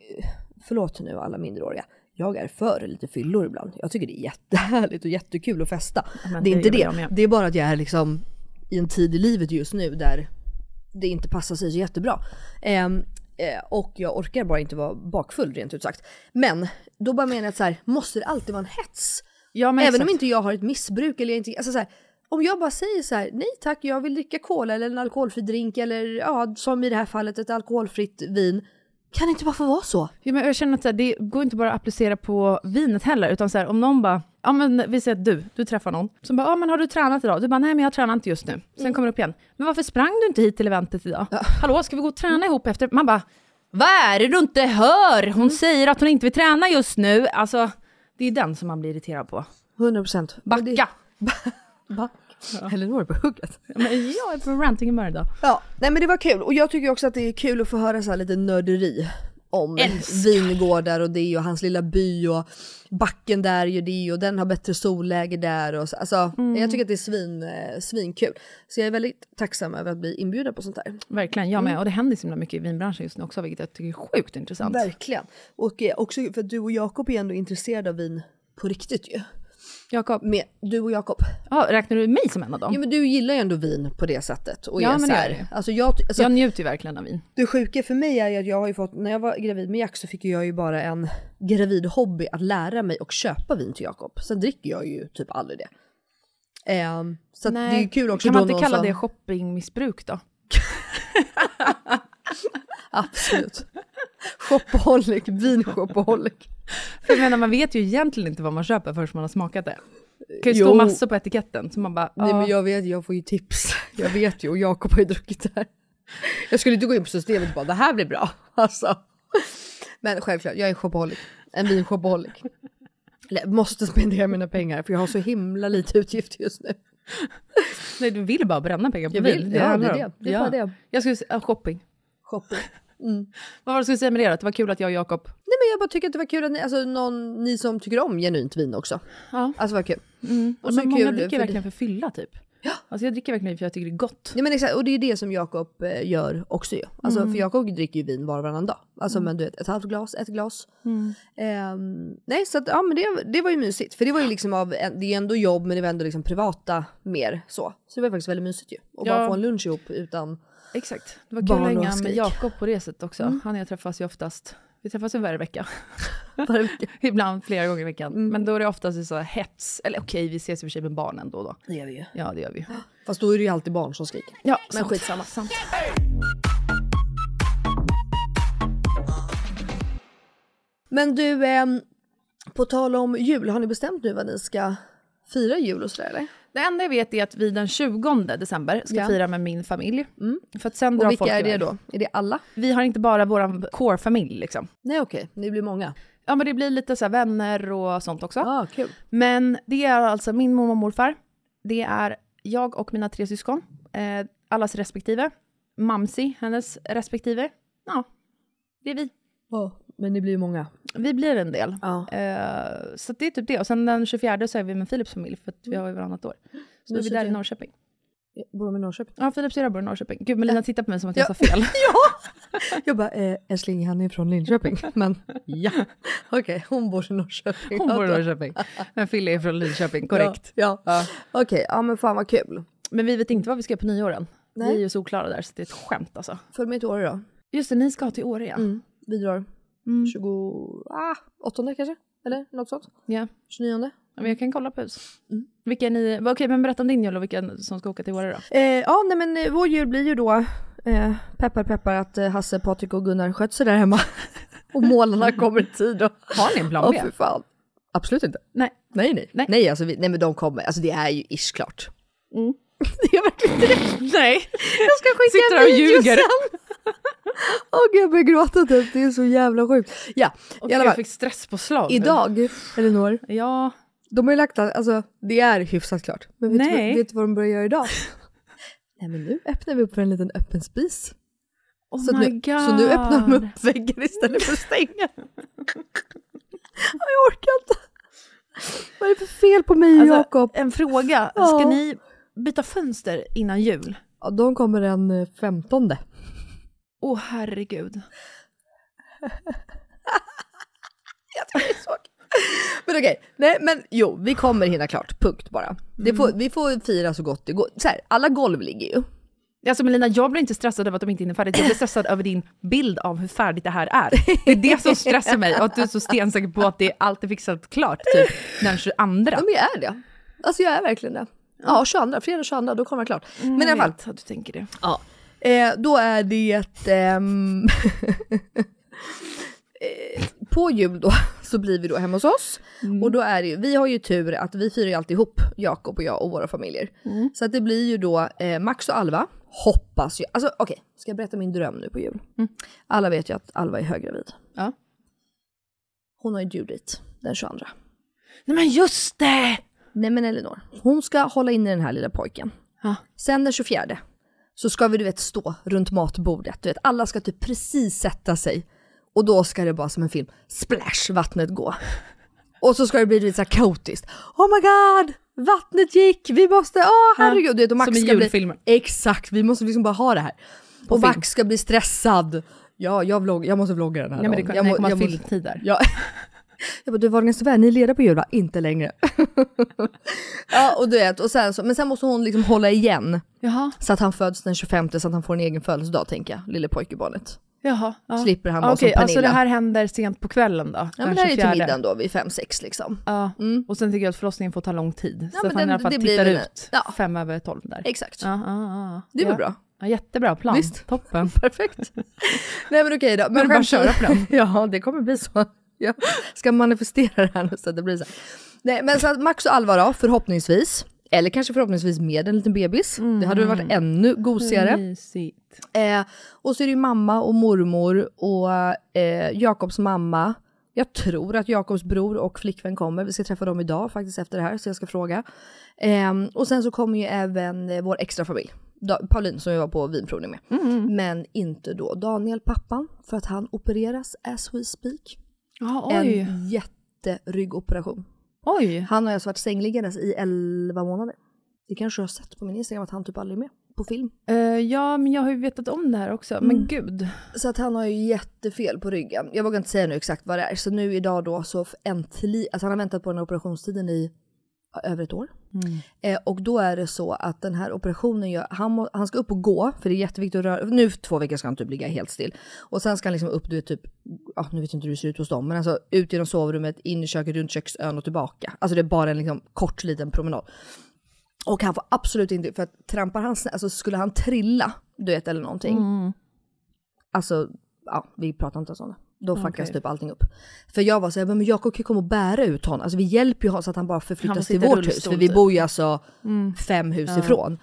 Speaker 3: förlåt nu alla minderåriga, jag är för lite fyllor ibland. Jag tycker det är jättehärligt och jättekul att festa.
Speaker 4: men
Speaker 3: det är
Speaker 4: det
Speaker 3: inte
Speaker 4: gör
Speaker 3: det,
Speaker 4: jag med.
Speaker 3: det är bara att jag är liksom i en tid i livet just nu där det inte passar sig så jättebra. Ehm, eh, och jag orkar bara inte vara bakfull rent ut sagt. Men då bara menar jag att så här, måste det alltid vara en hets?
Speaker 4: Ja, men
Speaker 3: Även
Speaker 4: exakt.
Speaker 3: om inte jag har ett missbruk eller jag inte, alltså så här, om jag bara säger så här, nej tack, jag vill dricka cola eller en alkoholfri drink eller ja, som i det här fallet ett alkoholfritt vin. Kan det inte bara få vara så?
Speaker 4: Ja, men jag känner att så här, det går inte bara att applicera på vinet heller, utan så här, om någon bara, ja men vi säger att du, du träffar någon, som bara, ja men har du tränat idag? Du bara, nej men jag tränar inte just nu. Sen
Speaker 3: Mm.
Speaker 4: kommer det upp igen, men varför sprang du inte hit till eventet idag? Hallå, ska vi gå och
Speaker 3: Mm.
Speaker 4: träna ihop efter? Man bara, vad är det du inte hör?
Speaker 3: Mm.
Speaker 4: Hon säger att hon inte vill träna just nu. Alltså, det är den som man blir irriterad på.
Speaker 3: 100 procent.
Speaker 4: Backa!
Speaker 3: Back. Ja. Elinor är på hugget.
Speaker 4: Men jag är på ranting varje dag.
Speaker 3: Ja, nej men det var kul och jag tycker också att det är kul att få höra så här lite nörderi om
Speaker 4: Älskar.
Speaker 3: vingårdar och det och hans lilla by och backen där gör det och den har bättre solläge där och så. Alltså,
Speaker 4: Mm.
Speaker 3: jag tycker att det är svin, eh, svinkul. Så jag är väldigt tacksam över att bli inbjuden på sånt här.
Speaker 4: Verkligen, jag med.
Speaker 3: Mm.
Speaker 4: Och det händer så himla mycket i vinbranschen just nu också, vilket jag tycker är sjukt intressant.
Speaker 3: Verkligen. Och eh, också för att du och Jakob är ändå intresserade av vin på riktigt ju.
Speaker 4: Jakob.
Speaker 3: Med, du och Jakob.
Speaker 4: Ja, räknar du mig som en av dem?
Speaker 3: Ja men du gillar ju ändå vin på det sättet. Och
Speaker 4: Ja,
Speaker 3: är
Speaker 4: men
Speaker 3: så
Speaker 4: det
Speaker 3: här-
Speaker 4: gör jag ju.
Speaker 3: alltså jag, ty- alltså,
Speaker 4: jag njuter ju verkligen av vin.
Speaker 3: Det sjuka för mig är ju att jag har ju fått, när jag var gravid med Jack så fick ju jag ju bara en gravid hobby att lära mig och köpa vin till Jakob. Sen dricker jag ju typ aldrig det. Ehm, så att det är ju kul också
Speaker 4: Kan
Speaker 3: då
Speaker 4: man inte
Speaker 3: någon
Speaker 4: kalla
Speaker 3: som-
Speaker 4: det shoppingmissbruk då?
Speaker 3: Absolut. Shopaholic, vinshopaholic.
Speaker 4: För jag menar, man vet ju egentligen inte vad man köper förrän man har smakat det. Det kan ju
Speaker 3: Jo.
Speaker 4: stå massor på etiketten, så man bara... "Ah,
Speaker 3: Nej men
Speaker 4: ja.
Speaker 3: jag vet, jag får ju tips. Jag vet ju och Jakob har ju druckit det här. Jag skulle inte gå in på systemet och bara det här blir bra. Alltså. Men självklart, jag är shopaholic. En vinshopaholic. Eller, Måste spendera mina pengar för jag har så himla lite utgifter just nu.
Speaker 4: Nej, du vill bara bränna pengar på
Speaker 3: Jag
Speaker 4: vin.
Speaker 3: vill, ja,
Speaker 4: handlar
Speaker 3: det är
Speaker 4: om.
Speaker 3: det. Det är bara det.
Speaker 4: Jag skulle säga shopping.
Speaker 3: Shopping.
Speaker 4: Vad var det du skulle säga med det då? Att Det var kul att jag och Jakob...
Speaker 3: Nej men jag bara tycker att det var kul att ni, alltså, någon, ni som tycker om genuint vin också.
Speaker 4: Ja.
Speaker 3: Alltså vad kul.
Speaker 4: Och men många dricker
Speaker 3: det-
Speaker 4: verkligen för fylla typ. Ja. Alltså jag dricker verkligen för jag tycker det är gott.
Speaker 3: Nej, men exakt, och det är ju det som Jakob eh, gör också ju. Alltså,
Speaker 4: Mm.
Speaker 3: För Jakob dricker ju vin var och varannan dag. Alltså
Speaker 4: Mm.
Speaker 3: men du vet ett halvt glas, ett glas.
Speaker 4: Mm.
Speaker 3: Ehm, nej så att, ja men det, det var ju mysigt. För det var ju liksom av, det är ändå jobb men det var ändå liksom privata mer så. Så det var faktiskt väldigt mysigt ju. Och
Speaker 4: Ja.
Speaker 3: bara få en lunch ihop utan
Speaker 4: Exakt. Det var kul
Speaker 3: Barn
Speaker 4: att
Speaker 3: och
Speaker 4: hänga med
Speaker 3: skrik. Mm.
Speaker 4: Jakob på det sättet också. Han och jag träffas ju oftast, vi träffas ju varje vecka.
Speaker 3: varje vecka. Mm.
Speaker 4: Ibland flera gånger i veckan. Men då är det oftast i så här hets, eller okej vi ses i och för sig med barnen då och då.
Speaker 3: Det gör vi ju.
Speaker 4: Ja det gör vi ju.
Speaker 3: Fast då är det ju alltid barn som skriker.
Speaker 4: Ja,
Speaker 3: Men skitsamma.
Speaker 4: Sant.
Speaker 3: Men du, ehm, på tal om jul, har ni bestämt nu vad ni ska fira jul och sådär eller?
Speaker 4: Det enda jag vet är att vi den 20 december ska
Speaker 3: Ja. Mm.
Speaker 4: fira med min familj. För att sen drar
Speaker 3: Och vilka
Speaker 4: folk
Speaker 3: är det
Speaker 4: iväg.
Speaker 3: då? Är det alla?
Speaker 4: Vi har inte bara vår core-familj liksom.
Speaker 3: Nej okej, det blir många.
Speaker 4: Ja men det blir lite så här vänner och sånt också.
Speaker 3: Ja, ah, kul.
Speaker 4: Men det är alltså min mormor och morfar, det är jag och mina tre syskon, eh, allas respektive, mamsi, hennes respektive, ja, det är vi.
Speaker 3: Ja, men det blir ju många.
Speaker 4: Vi blir en del.
Speaker 3: Ja.
Speaker 4: Eh, så det är typ det. Och sen den 24 så är vi med Philips familj, för att vi har ju varannat år. Så är vi
Speaker 3: Mysigt
Speaker 4: där i
Speaker 3: ju.
Speaker 4: Norrköping.
Speaker 3: Bor de i Norrköping?
Speaker 4: Ja, Philips syrra bor i Norrköping. Gud, Melina tittar på mig som att jag
Speaker 3: Ja.
Speaker 4: sa fel.
Speaker 3: Jag bara, eh, älskling han är från Linköping. Men ja, okej, hon bor i Norrköping.
Speaker 4: Hon bor i
Speaker 3: Ja, då.
Speaker 4: Norrköping. Men Fille är från Linköping, korrekt.
Speaker 3: Ja, ja. okej, ja men fan vad kul.
Speaker 4: Men vi vet inte vad vi ska göra på nyåren.
Speaker 3: Nej.
Speaker 4: Vi är ju så oklara där, så det är ett skämt alltså.
Speaker 3: Följ med till Åre då.
Speaker 4: Just det, ni ska ha till Åre ja.
Speaker 3: Mm. Vi drar
Speaker 4: Mm.
Speaker 3: 28 kanske? Eller något sånt?
Speaker 4: Ja.
Speaker 3: 29?
Speaker 4: Ja, Men jag kan kolla på hus.
Speaker 3: Mm.
Speaker 4: Vilka är ni... Okej, men berätta om din jul och vilka som ska åka till Åre då.
Speaker 3: Eh, ja, nej men eh, vår jul blir ju då eh, peppar peppar att eh, Hasse, Patrik och Gunnar sköter sig där hemma. och målarna kommer i tid. Och...
Speaker 4: Har ni en plan
Speaker 3: Ja,
Speaker 4: B?
Speaker 3: fy fan. Absolut inte.
Speaker 4: Nej.
Speaker 3: Nej, nej.
Speaker 4: Nej.
Speaker 3: Nej, alltså, vi, nej men de kommer. Alltså det är ju ish klart.
Speaker 4: Mm.
Speaker 3: Det är verkligen inte det.
Speaker 4: Nej.
Speaker 3: Jag ska skicka
Speaker 4: Sitter där och
Speaker 3: en video
Speaker 4: ljuger.
Speaker 3: sen. Åh gud, jag börjar gråta typ. Det är så jävla sjukt. Ja,
Speaker 4: Och
Speaker 3: i alla
Speaker 4: jag
Speaker 3: fall.
Speaker 4: fick stresspåslag nu.
Speaker 3: Idag, Elinor,
Speaker 4: Ja.
Speaker 3: de har ju lagt all- alltså det är hyfsat klart. Men vet,
Speaker 4: Nej.
Speaker 3: Du, vet du vad de börjar göra idag? Nej men nu öppnar vi upp för en liten öppen spis.
Speaker 4: Oh
Speaker 3: Så, att
Speaker 4: my
Speaker 3: nu,
Speaker 4: god.
Speaker 3: så nu öppnar de upp väggar istället för att stänga. jag orkar inte. Vad är det för fel på mig och
Speaker 4: Alltså,
Speaker 3: Jakob?
Speaker 4: En fråga. Ska
Speaker 3: Ja.
Speaker 4: ni byta fönster innan jul?
Speaker 3: Ja, de kommer den eh, 15.
Speaker 4: Åh herregud.
Speaker 3: Men okej, nej men jo, vi kommer hinna klart, punkt bara.
Speaker 4: Mm.
Speaker 3: Det får, Vi får fira så gott det går. Så här, alla golv ligger ju.
Speaker 4: Alltså Melina, jag blir inte stressad över att de inte hinner färdigt. Jag blir stressad över din bild av hur färdigt det här är. Det är det som stressar mig. Och att du är så stensäker på att det är alltid fixat klart, typ den 22.
Speaker 3: Ja men jag är det. Alltså jag är verkligen det. Ja, 22, fredag 22, då kommer det klart. Men i alla fall.
Speaker 4: att du tänker det.
Speaker 3: Ja. Eh, då är det... ehm, eh, på jul då så blir vi då hemma hos oss. Och då är det ju, vi har ju tur att vi firar ju alltid ihop, Jakob och jag och våra familjer. Så att det blir ju då eh, Max och Alva, hoppas jag. Alltså okej, ska jag berätta min dröm nu på jul? Alla vet ju att Alva är höggravid.
Speaker 4: Ja.
Speaker 3: Hon har ju due date den 22.
Speaker 4: Nej men just det!
Speaker 3: Nej men Elinor, hon ska hålla inne den här lilla pojken.
Speaker 4: Ja.
Speaker 3: Sen den 24 så ska vi du vet stå runt matbordet, du vet alla ska typ precis sätta sig och då ska det bara som en film, splash, vattnet gå. Och så ska det bli lite så här kaotiskt. Oh my god! Vattnet gick, vi måste, åh herregud. Du vet, och Max
Speaker 4: Som i
Speaker 3: ska
Speaker 4: julfilmer.
Speaker 3: Bli, exakt, vi måste liksom bara ha det här.
Speaker 4: På
Speaker 3: och
Speaker 4: film.
Speaker 3: Max ska bli stressad. Ja, jag, vlogg, jag måste vlogga den här
Speaker 4: Nej men det
Speaker 3: dagen.
Speaker 4: kommer,
Speaker 3: jag, må-
Speaker 4: jag kommer
Speaker 3: jag
Speaker 4: att
Speaker 3: måste-
Speaker 4: ha filmtid där.
Speaker 3: Ja. Jag bara, du Wahlgren Sverige, ni leder på jul va? Inte längre. ja, och du vet, och sen så, men sen måste hon liksom hålla igen.
Speaker 4: Jaha.
Speaker 3: Så att han föds den 25 så att han får en egen födelsedag tänker jag, lille pojkebarnet.
Speaker 4: Jaha. Ja.
Speaker 3: Slipper han vara
Speaker 4: Okej,
Speaker 3: som Pernilla.
Speaker 4: alltså det här händer sent på kvällen då?
Speaker 3: ja
Speaker 4: den
Speaker 3: men det här är till
Speaker 4: 24.
Speaker 3: middagen då vid 5-6 liksom.
Speaker 4: Ja, och sen tycker jag att förlossningen får ta lång tid.
Speaker 3: Ja,
Speaker 4: så
Speaker 3: men
Speaker 4: att han
Speaker 3: den-
Speaker 4: i alla fall
Speaker 3: det blir
Speaker 4: tittar
Speaker 3: väl-
Speaker 4: ut fem över tolv där.
Speaker 3: Exakt.
Speaker 4: Ja, ja, ja.
Speaker 3: Det är väl
Speaker 4: Ja.
Speaker 3: bra?
Speaker 4: Ja, jättebra plan.
Speaker 3: Visst?
Speaker 4: Toppen.
Speaker 3: Perfekt. Nej men okej då. Men,
Speaker 4: är bara att
Speaker 3: skämt åsido-
Speaker 4: köra på den.
Speaker 3: ja, det kommer bli så. Jag ska manifestera det här nu så att det blir så. här. Nej men så att Max och Alva då, förhoppningsvis. Eller kanske förhoppningsvis med en liten bebis. Det hade väl
Speaker 4: Mm.
Speaker 3: varit ännu gosigare.
Speaker 4: Mysigt.
Speaker 3: Eh, och så är det ju mamma och mormor och eh, Jakobs mamma. Jag tror att Jakobs bror och flickvän kommer. Vi ska träffa dem idag faktiskt efter det här, så jag ska fråga. Eh, och sen så kommer ju även eh, vår extra familj. Da- Pauline som jag var på vinprovning med. Men inte då Daniel, pappan, för att han opereras as we speak.
Speaker 4: Ja, oj.
Speaker 3: En jätteryggoperation.
Speaker 4: Oj.
Speaker 3: Han har alltså varit sängliggandes i 11 månader. Det kanske jag har sett på min Instagram att han typ aldrig är med på film.
Speaker 4: Eh, ja, men jag har ju vetat om det här också.
Speaker 3: Mm.
Speaker 4: Men gud.
Speaker 3: Så att han har ju jättefel på ryggen. Jag vågar inte säga nu exakt vad det är. Så nu idag då så f- äntligen, alltså han har väntat på den här operationstiden i ja, över ett år. Eh, och då är det så att den här operationen gör, han, må, han ska upp och gå, för det är jätteviktigt att röra, nu två veckor ska han typ ligga helt still. Och sen ska han liksom upp, du vet typ, ja nu vet jag inte hur det ser ut hos dem, men alltså ut genom sovrummet, in i köket, runt köksön och tillbaka. Alltså det är bara en liksom kort liten promenad. Och han får absolut inte, för att trampar han, snett- alltså skulle han trilla, du vet eller någonting, alltså, ja, vi pratar inte om sådana. Då fuckas
Speaker 4: Okej.
Speaker 3: typ allting upp. För jag var så här, men Jakob kan ju komma och bära ut honom. Alltså vi hjälper ju honom så att han bara
Speaker 4: Han får
Speaker 3: förflyttas till
Speaker 4: sitta i
Speaker 3: vårt hus.
Speaker 4: rullstol
Speaker 3: För vi
Speaker 4: typ.
Speaker 3: bor ju alltså
Speaker 4: Mm.
Speaker 3: fem hus
Speaker 4: Ja.
Speaker 3: ifrån.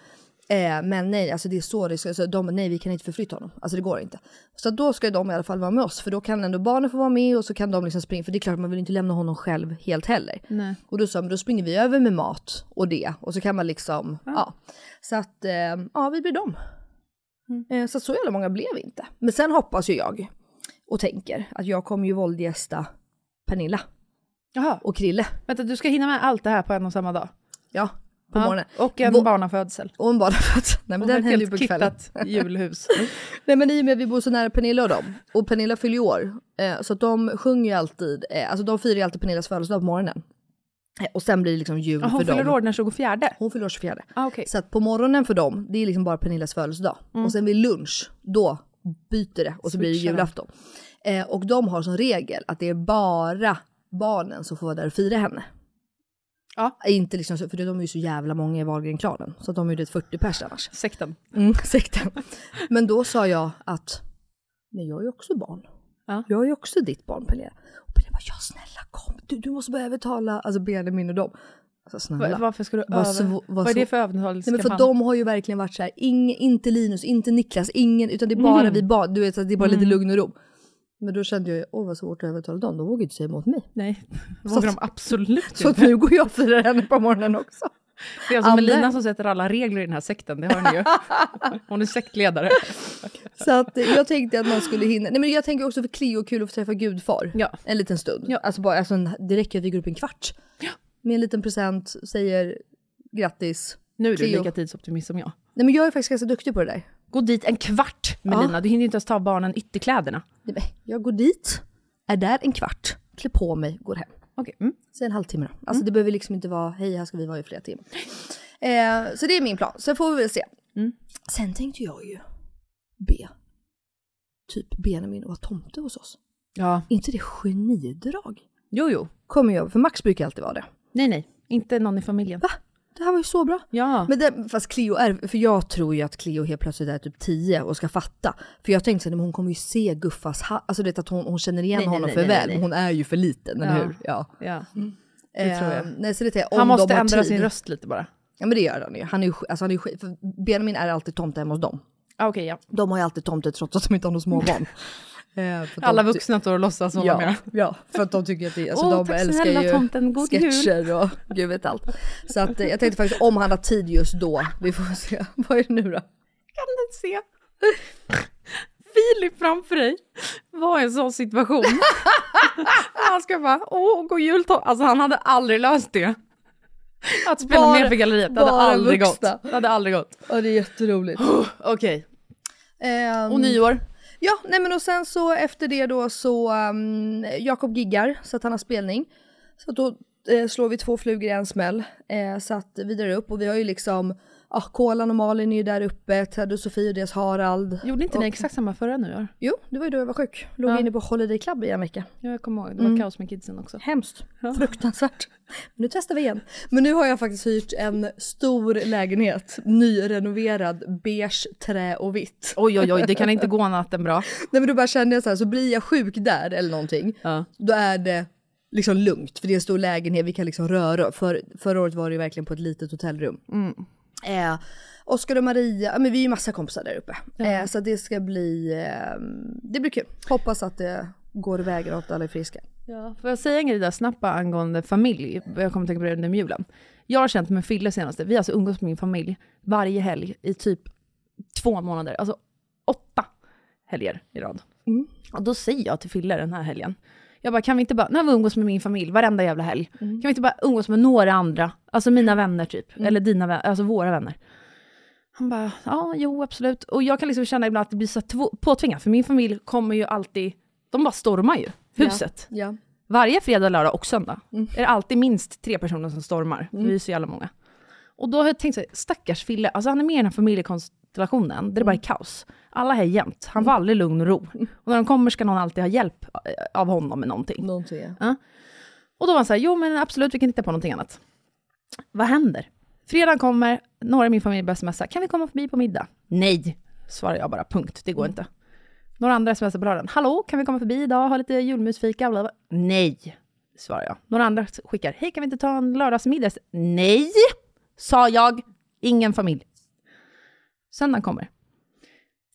Speaker 3: Eh, men nej, alltså det är så det ska, så de, nej vi kan inte förflytta honom. Alltså det går inte. Så då ska de i alla fall vara med oss. För då kan ändå barnen få vara med och så kan de liksom springa. För det är klart man vill inte lämna honom själv helt heller.
Speaker 4: Nej.
Speaker 3: Och då sa men då springer vi över med mat och det. Och så kan man liksom, ja. Så att, eh, ja vi blir dem. Eh, Så att så jävla många blev inte. Men sen hoppas ju jag och tänker att jag kommer ju våldgästa Pernilla
Speaker 4: Jaha.
Speaker 3: och Krille.
Speaker 4: Vänta, du ska hinna med allt det här på en och samma dag?
Speaker 3: Ja, på
Speaker 4: Ja,
Speaker 3: morgonen.
Speaker 4: Och en
Speaker 3: Vå-
Speaker 4: barnafödsel.
Speaker 3: Och en barnafödsel. Nej men
Speaker 4: Och typ
Speaker 3: den
Speaker 4: ett
Speaker 3: händer ju
Speaker 4: helt
Speaker 3: på kvällen.
Speaker 4: kittat julhus.
Speaker 3: Nej men i och med att vi bor så nära Pernilla och dem. Och Pernilla fyller ju år. Eh, så att de sjunger ju alltid, eh, alltså de firar ju alltid Pernillas födelsedag på morgonen. Eh, och sen blir det liksom jul
Speaker 4: Jaha, hon
Speaker 3: för
Speaker 4: fyller
Speaker 3: dem.
Speaker 4: år den 24.
Speaker 3: Hon fyller år 24.
Speaker 4: Ah, okej.
Speaker 3: Så att på morgonen för dem, det är liksom bara Pernillas födelsedag. Och sen vid lunch, då byter det och så blir det
Speaker 4: Mm. Switchar de.
Speaker 3: julafton. Eh, och de har som regel att det är bara barnen som får vara där och fira henne.
Speaker 4: Ja.
Speaker 3: Inte liksom, så- för de är ju så jävla många i Wahlgren-klanen. Så att de är ju det 40 pers annars.
Speaker 4: Sekten.
Speaker 3: Mm, sekten. Men då sa jag att, men jag är ju också barn.
Speaker 4: Ja.
Speaker 3: Jag är ju också ditt barn Pernilla. Och Pernilla bara, ja snälla kom, du, du måste börja övertala, alltså Benjamin och dem. Alltså snälla.
Speaker 4: Va- Varför ska du
Speaker 3: Vad
Speaker 4: över...
Speaker 3: svo- vad
Speaker 4: Vad är det
Speaker 3: svo-
Speaker 4: för övertalningskampanj?
Speaker 3: Nej, men för de har ju verkligen varit så här, ing, inte Linus, inte Niklas, ingen, utan det är bara vi barn. Du vet, så att det är bara lite lugn och ro. Men då kände jag ju, åh vad svårt att övertala dem, de vågar ju inte säga emot mig.
Speaker 4: Nej, det vågar de absolut
Speaker 3: Så att
Speaker 4: inte.
Speaker 3: nu går jag och firar henne på morgonen också.
Speaker 4: Det är alltså
Speaker 3: Anne-
Speaker 4: Melina som sätter alla regler i den här sekten, det hör ni ju. Hon är sektledare.
Speaker 3: Så att eh, jag tänkte att man skulle hinna, nej men jag tänker också för Cleo, kul att få träffa gudfar
Speaker 4: Ja.
Speaker 3: en liten stund.
Speaker 4: Ja.
Speaker 3: Alltså bara, alltså en, det räcker att vi går upp en kvart. Med en liten present, säger grattis.
Speaker 4: Nu är du
Speaker 3: Cleo.
Speaker 4: lika tidsoptimist som jag.
Speaker 3: Nej men jag är faktiskt ganska duktig på det där.
Speaker 4: Gå dit en kvart, Melina. Du hinner ju inte ens ta barnen ytterkläderna.
Speaker 3: Nej, men Jag går dit, är där en kvart, klär på mig, går hem.
Speaker 4: Okej. Mm.
Speaker 3: Säg en halvtimme då. Alltså det behöver liksom inte vara, hej här ska vi vara i flera timmar. Eh, så det är min plan, sen får vi väl se.
Speaker 4: Mm.
Speaker 3: Sen tänkte jag ju be typ Benjamin att vara tomte hos oss.
Speaker 4: Ja.
Speaker 3: Är inte det genidrag?
Speaker 4: Jo, jo.
Speaker 3: Kommer jag, för Max brukar alltid vara det.
Speaker 4: Nej, nej. Inte någon i familjen.
Speaker 3: Va? det här var ju så bra.
Speaker 4: Ja.
Speaker 3: Men det, fast Cleo är, för jag tror ju att Cleo helt plötsligt är typ 10 och ska fatta. För jag tänkte så här, men hon kommer ju se Guffas, ha- alltså du vet att hon, hon känner igen
Speaker 4: Nej, nej,
Speaker 3: honom
Speaker 4: nej,
Speaker 3: för
Speaker 4: nej,
Speaker 3: väl,
Speaker 4: nej.
Speaker 3: men hon är ju för liten, eller hur? Ja.
Speaker 4: ja. Det tror jag.
Speaker 3: Eh, nej, så det är, om
Speaker 4: Han måste
Speaker 3: de har
Speaker 4: ändra
Speaker 3: tid.
Speaker 4: sin röst lite bara.
Speaker 3: Ja men det gör han ju. Han är ju, sk- alltså, han är ju skit. För Benjamin är alltid tomte hemma hos dem.
Speaker 4: Ah, okay, ja.
Speaker 3: De har ju alltid tomte trots att de inte har några små barn. Eh, för att
Speaker 4: Alla
Speaker 3: de ty-
Speaker 4: vuxna står och låtsas som de
Speaker 3: ja,
Speaker 4: gör.
Speaker 3: ja, för att de tycker att det, alltså,
Speaker 4: Åh,
Speaker 3: de
Speaker 4: tack
Speaker 3: älskar
Speaker 4: snälla
Speaker 3: ju
Speaker 4: tomten, god jul.
Speaker 3: sketcher och gud vet allt. Så att, eh, jag tänkte faktiskt om han har tid just då, vi får se. Vad är det nu då?
Speaker 4: kan den se. Filip framför dig var en sån situation. Och han ska bara, åh, god jul Tom. Alltså han hade aldrig löst det. Att spela
Speaker 3: Bara-
Speaker 4: med för galleriet, det hade
Speaker 3: bara
Speaker 4: aldrig
Speaker 3: vuxna.
Speaker 4: gått. Det hade aldrig gått.
Speaker 3: Ja det är jätteroligt.
Speaker 4: Okej,
Speaker 3: Ehm,
Speaker 4: och nyår.
Speaker 3: Ja, nej men och sen så efter det då så um, Jakob giggar så att han har spelning. Så att då eh, slår vi två flugor i en smäll. Eh, så att vi drar upp och vi har ju liksom, ja Kolan och Malin är ju där uppe, Ted och Sofie och deras Harald.
Speaker 4: Gjorde inte
Speaker 3: och,
Speaker 4: ni exakt samma förra nyår?
Speaker 3: Jo, det var ju då jag var sjuk. Låg
Speaker 4: Ja.
Speaker 3: inne på Holiday Club i en vecka.
Speaker 4: Ja, jag kommer ihåg, det var
Speaker 3: Mm.
Speaker 4: kaos med kidsen också.
Speaker 3: Hemskt. Fruktansvärt. Men nu testar vi igen. Men nu har jag faktiskt hyrt en stor lägenhet, nyrenoverad, beige, trä och vitt.
Speaker 4: Oj, oj, oj, det kan inte gå natten bra.
Speaker 3: Nej men då bara kände jag så här, så blir jag sjuk där eller någonting, då är det liksom lugnt. För det är en stor lägenhet, vi kan liksom röra. För, förra året var det ju verkligen på ett litet hotellrum. Eh, Oskar och Maria, ja, men vi är ju massa kompisar där uppe. Eh, så det ska bli, eh, det blir kul. Hoppas att det går vägen och att alla är friska.
Speaker 4: Ja, får jag säga en grej där snabbt bara angående familj? Jag kommer tänka på det under julen. Jag har känt med Fille senaste, vi har alltså umgås med min familj varje helg i typ två månader, alltså åtta helger i rad. Och då säger jag till Fille den här helgen, jag bara, kan vi inte bara, när vi umgås med min familj varenda jävla helg, kan vi inte bara umgås med några andra, alltså mina vänner typ, eller dina vänner, alltså våra vänner. Han bara, ja, jo, absolut. Och jag kan liksom känna ibland att det blir så tv- påtvingat, för min familj kommer ju alltid, de bara stormar ju huset.
Speaker 3: Ja.
Speaker 4: Varje fredag, lördag och söndag är det alltid minst tre personer som stormar. Vi är så jävla många. Och då har jag tänkt så här, stackars Fille, alltså han är med i den här familjekonstellationen där det bara är kaos. Alla är jämt, han får aldrig lugn och ro. Och när de kommer ska någon alltid ha hjälp eh, av honom med någonting.
Speaker 3: Någonting ja.
Speaker 4: Ja. Och då var han så här, jo men absolut vi kan titta på någonting annat. Vad händer? Fredagen kommer, några i min familj börjar smsa, kan vi komma förbi på middag? Nej, svarar jag bara, punkt, det går inte. Några andra smsar på lördagen, hallå, kan vi komma förbi idag, ha lite julmusfika? Bla, bla. Nej, svarar jag. Några andra skickar, hej kan vi inte ta en lördagsmiddag? Nej, sa jag, ingen familj. Söndagen kommer.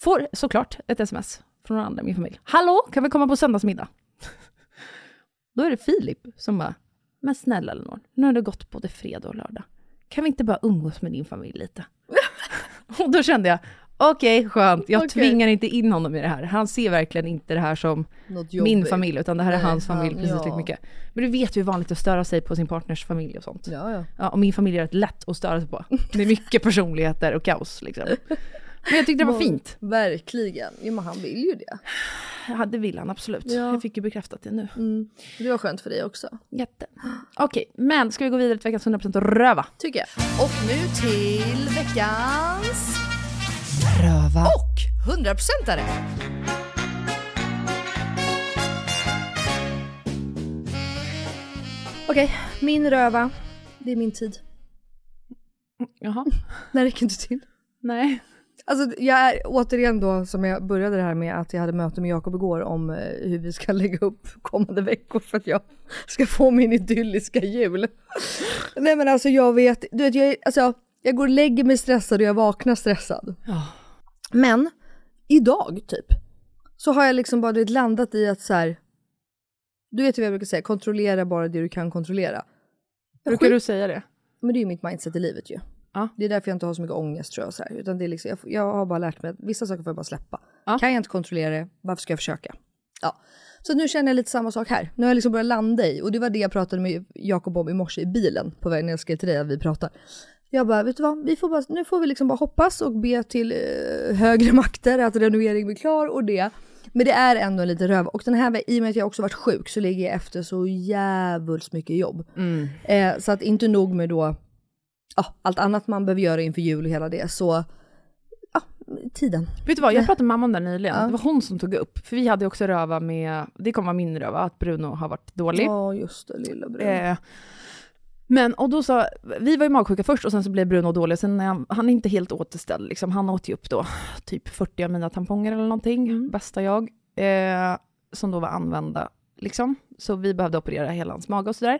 Speaker 4: Får såklart ett sms från några andra i min familj. Hallå, kan vi komma på söndagsmiddag? Då är det Filip som bara, men snälla Lenore, nu har det gått både fredag och lördag. Kan vi inte bara umgås med din familj lite? och då kände jag, okej skönt, jag
Speaker 3: Okej.
Speaker 4: tvingar inte in honom i det här. Han ser verkligen inte det här som
Speaker 3: Något jobbigt.
Speaker 4: min familj, utan det här är
Speaker 3: Nej,
Speaker 4: hans familj
Speaker 3: han-
Speaker 4: precis
Speaker 3: ja.
Speaker 4: lika mycket. Men du vet ju hur vanligt att störa sig på sin partners familj och sånt.
Speaker 3: Ja, ja.
Speaker 4: Ja, och min familj är rätt lätt att störa sig på. Det är mycket personligheter och kaos liksom. Men jag tyckte det var fint.
Speaker 3: Verkligen. Jo men han vill ju det.
Speaker 4: Ja, det vill han absolut.
Speaker 3: Ja. Mm.
Speaker 4: Jag fick ju bekräftat det nu.
Speaker 3: Det var skönt för dig också.
Speaker 4: Jätte. Okej, men ska vi gå vidare till veckans 100% röva?
Speaker 3: Tycker jag. Och nu till veckans
Speaker 4: Röva.
Speaker 3: och 100%are. Okej, min röva. Det är min tid.
Speaker 4: Jaha.
Speaker 3: Den räcker inte till.
Speaker 4: Nej.
Speaker 3: Alltså jag är återigen då som jag började det här med att jag hade möte med Jakob igår om eh, hur vi ska lägga upp kommande veckor för att jag ska få min idylliska jul. Nej men alltså jag vet, du vet jag, är- alltså, jag går och lägger mig stressad och jag vaknar stressad.
Speaker 4: Ja.
Speaker 3: Men idag typ så har jag liksom bara du vet, landat i att så här. du vet ju vad jag brukar säga, kontrollera bara det du kan kontrollera.
Speaker 4: Brukar du säga det?
Speaker 3: Men det är ju mitt mindset i livet ju.
Speaker 4: Ja.
Speaker 3: Det är därför jag inte har så mycket ångest tror jag. Så här. Utan det är liksom, jag, jag har bara lärt mig att vissa saker får jag bara släppa. Kan jag inte kontrollera det, varför ska jag försöka? Ja. Så nu känner jag lite samma sak här. Nu har jag liksom börjat landa i, och det var det jag pratade med Jakob om i morse i bilen på vägen när jag skrev till dig att vi pratar. Jag bara, vet du vad, vi får bara, nu får vi liksom bara hoppas och be till eh, högre makter att renoveringen blir klar och det. Men det är ändå lite röv. Och den här, i och med att jag också varit sjuk så ligger jag efter så jävligt mycket jobb. Eh, så att inte nog med då ja, allt annat man behöver göra inför jul och hela det, så ja, tiden.
Speaker 4: Vet du vad, jag pratade med mamma om det här nyligen. Det var hon som tog upp, för vi hade också röva med, det kommer vara min röva, att Bruno har varit dålig.
Speaker 3: Eh, Ja, just det, lilla bror.
Speaker 4: Eh, Men, och då sa, vi var ju magsjuka först och sen så blev Bruno dålig, sen när han, han är inte helt återställd liksom. Han åt ju upp då typ 40 av mina tamponger eller någonting, bästa jag, eh, som då var använda liksom. Så vi behövde operera hela hans mage och sådär.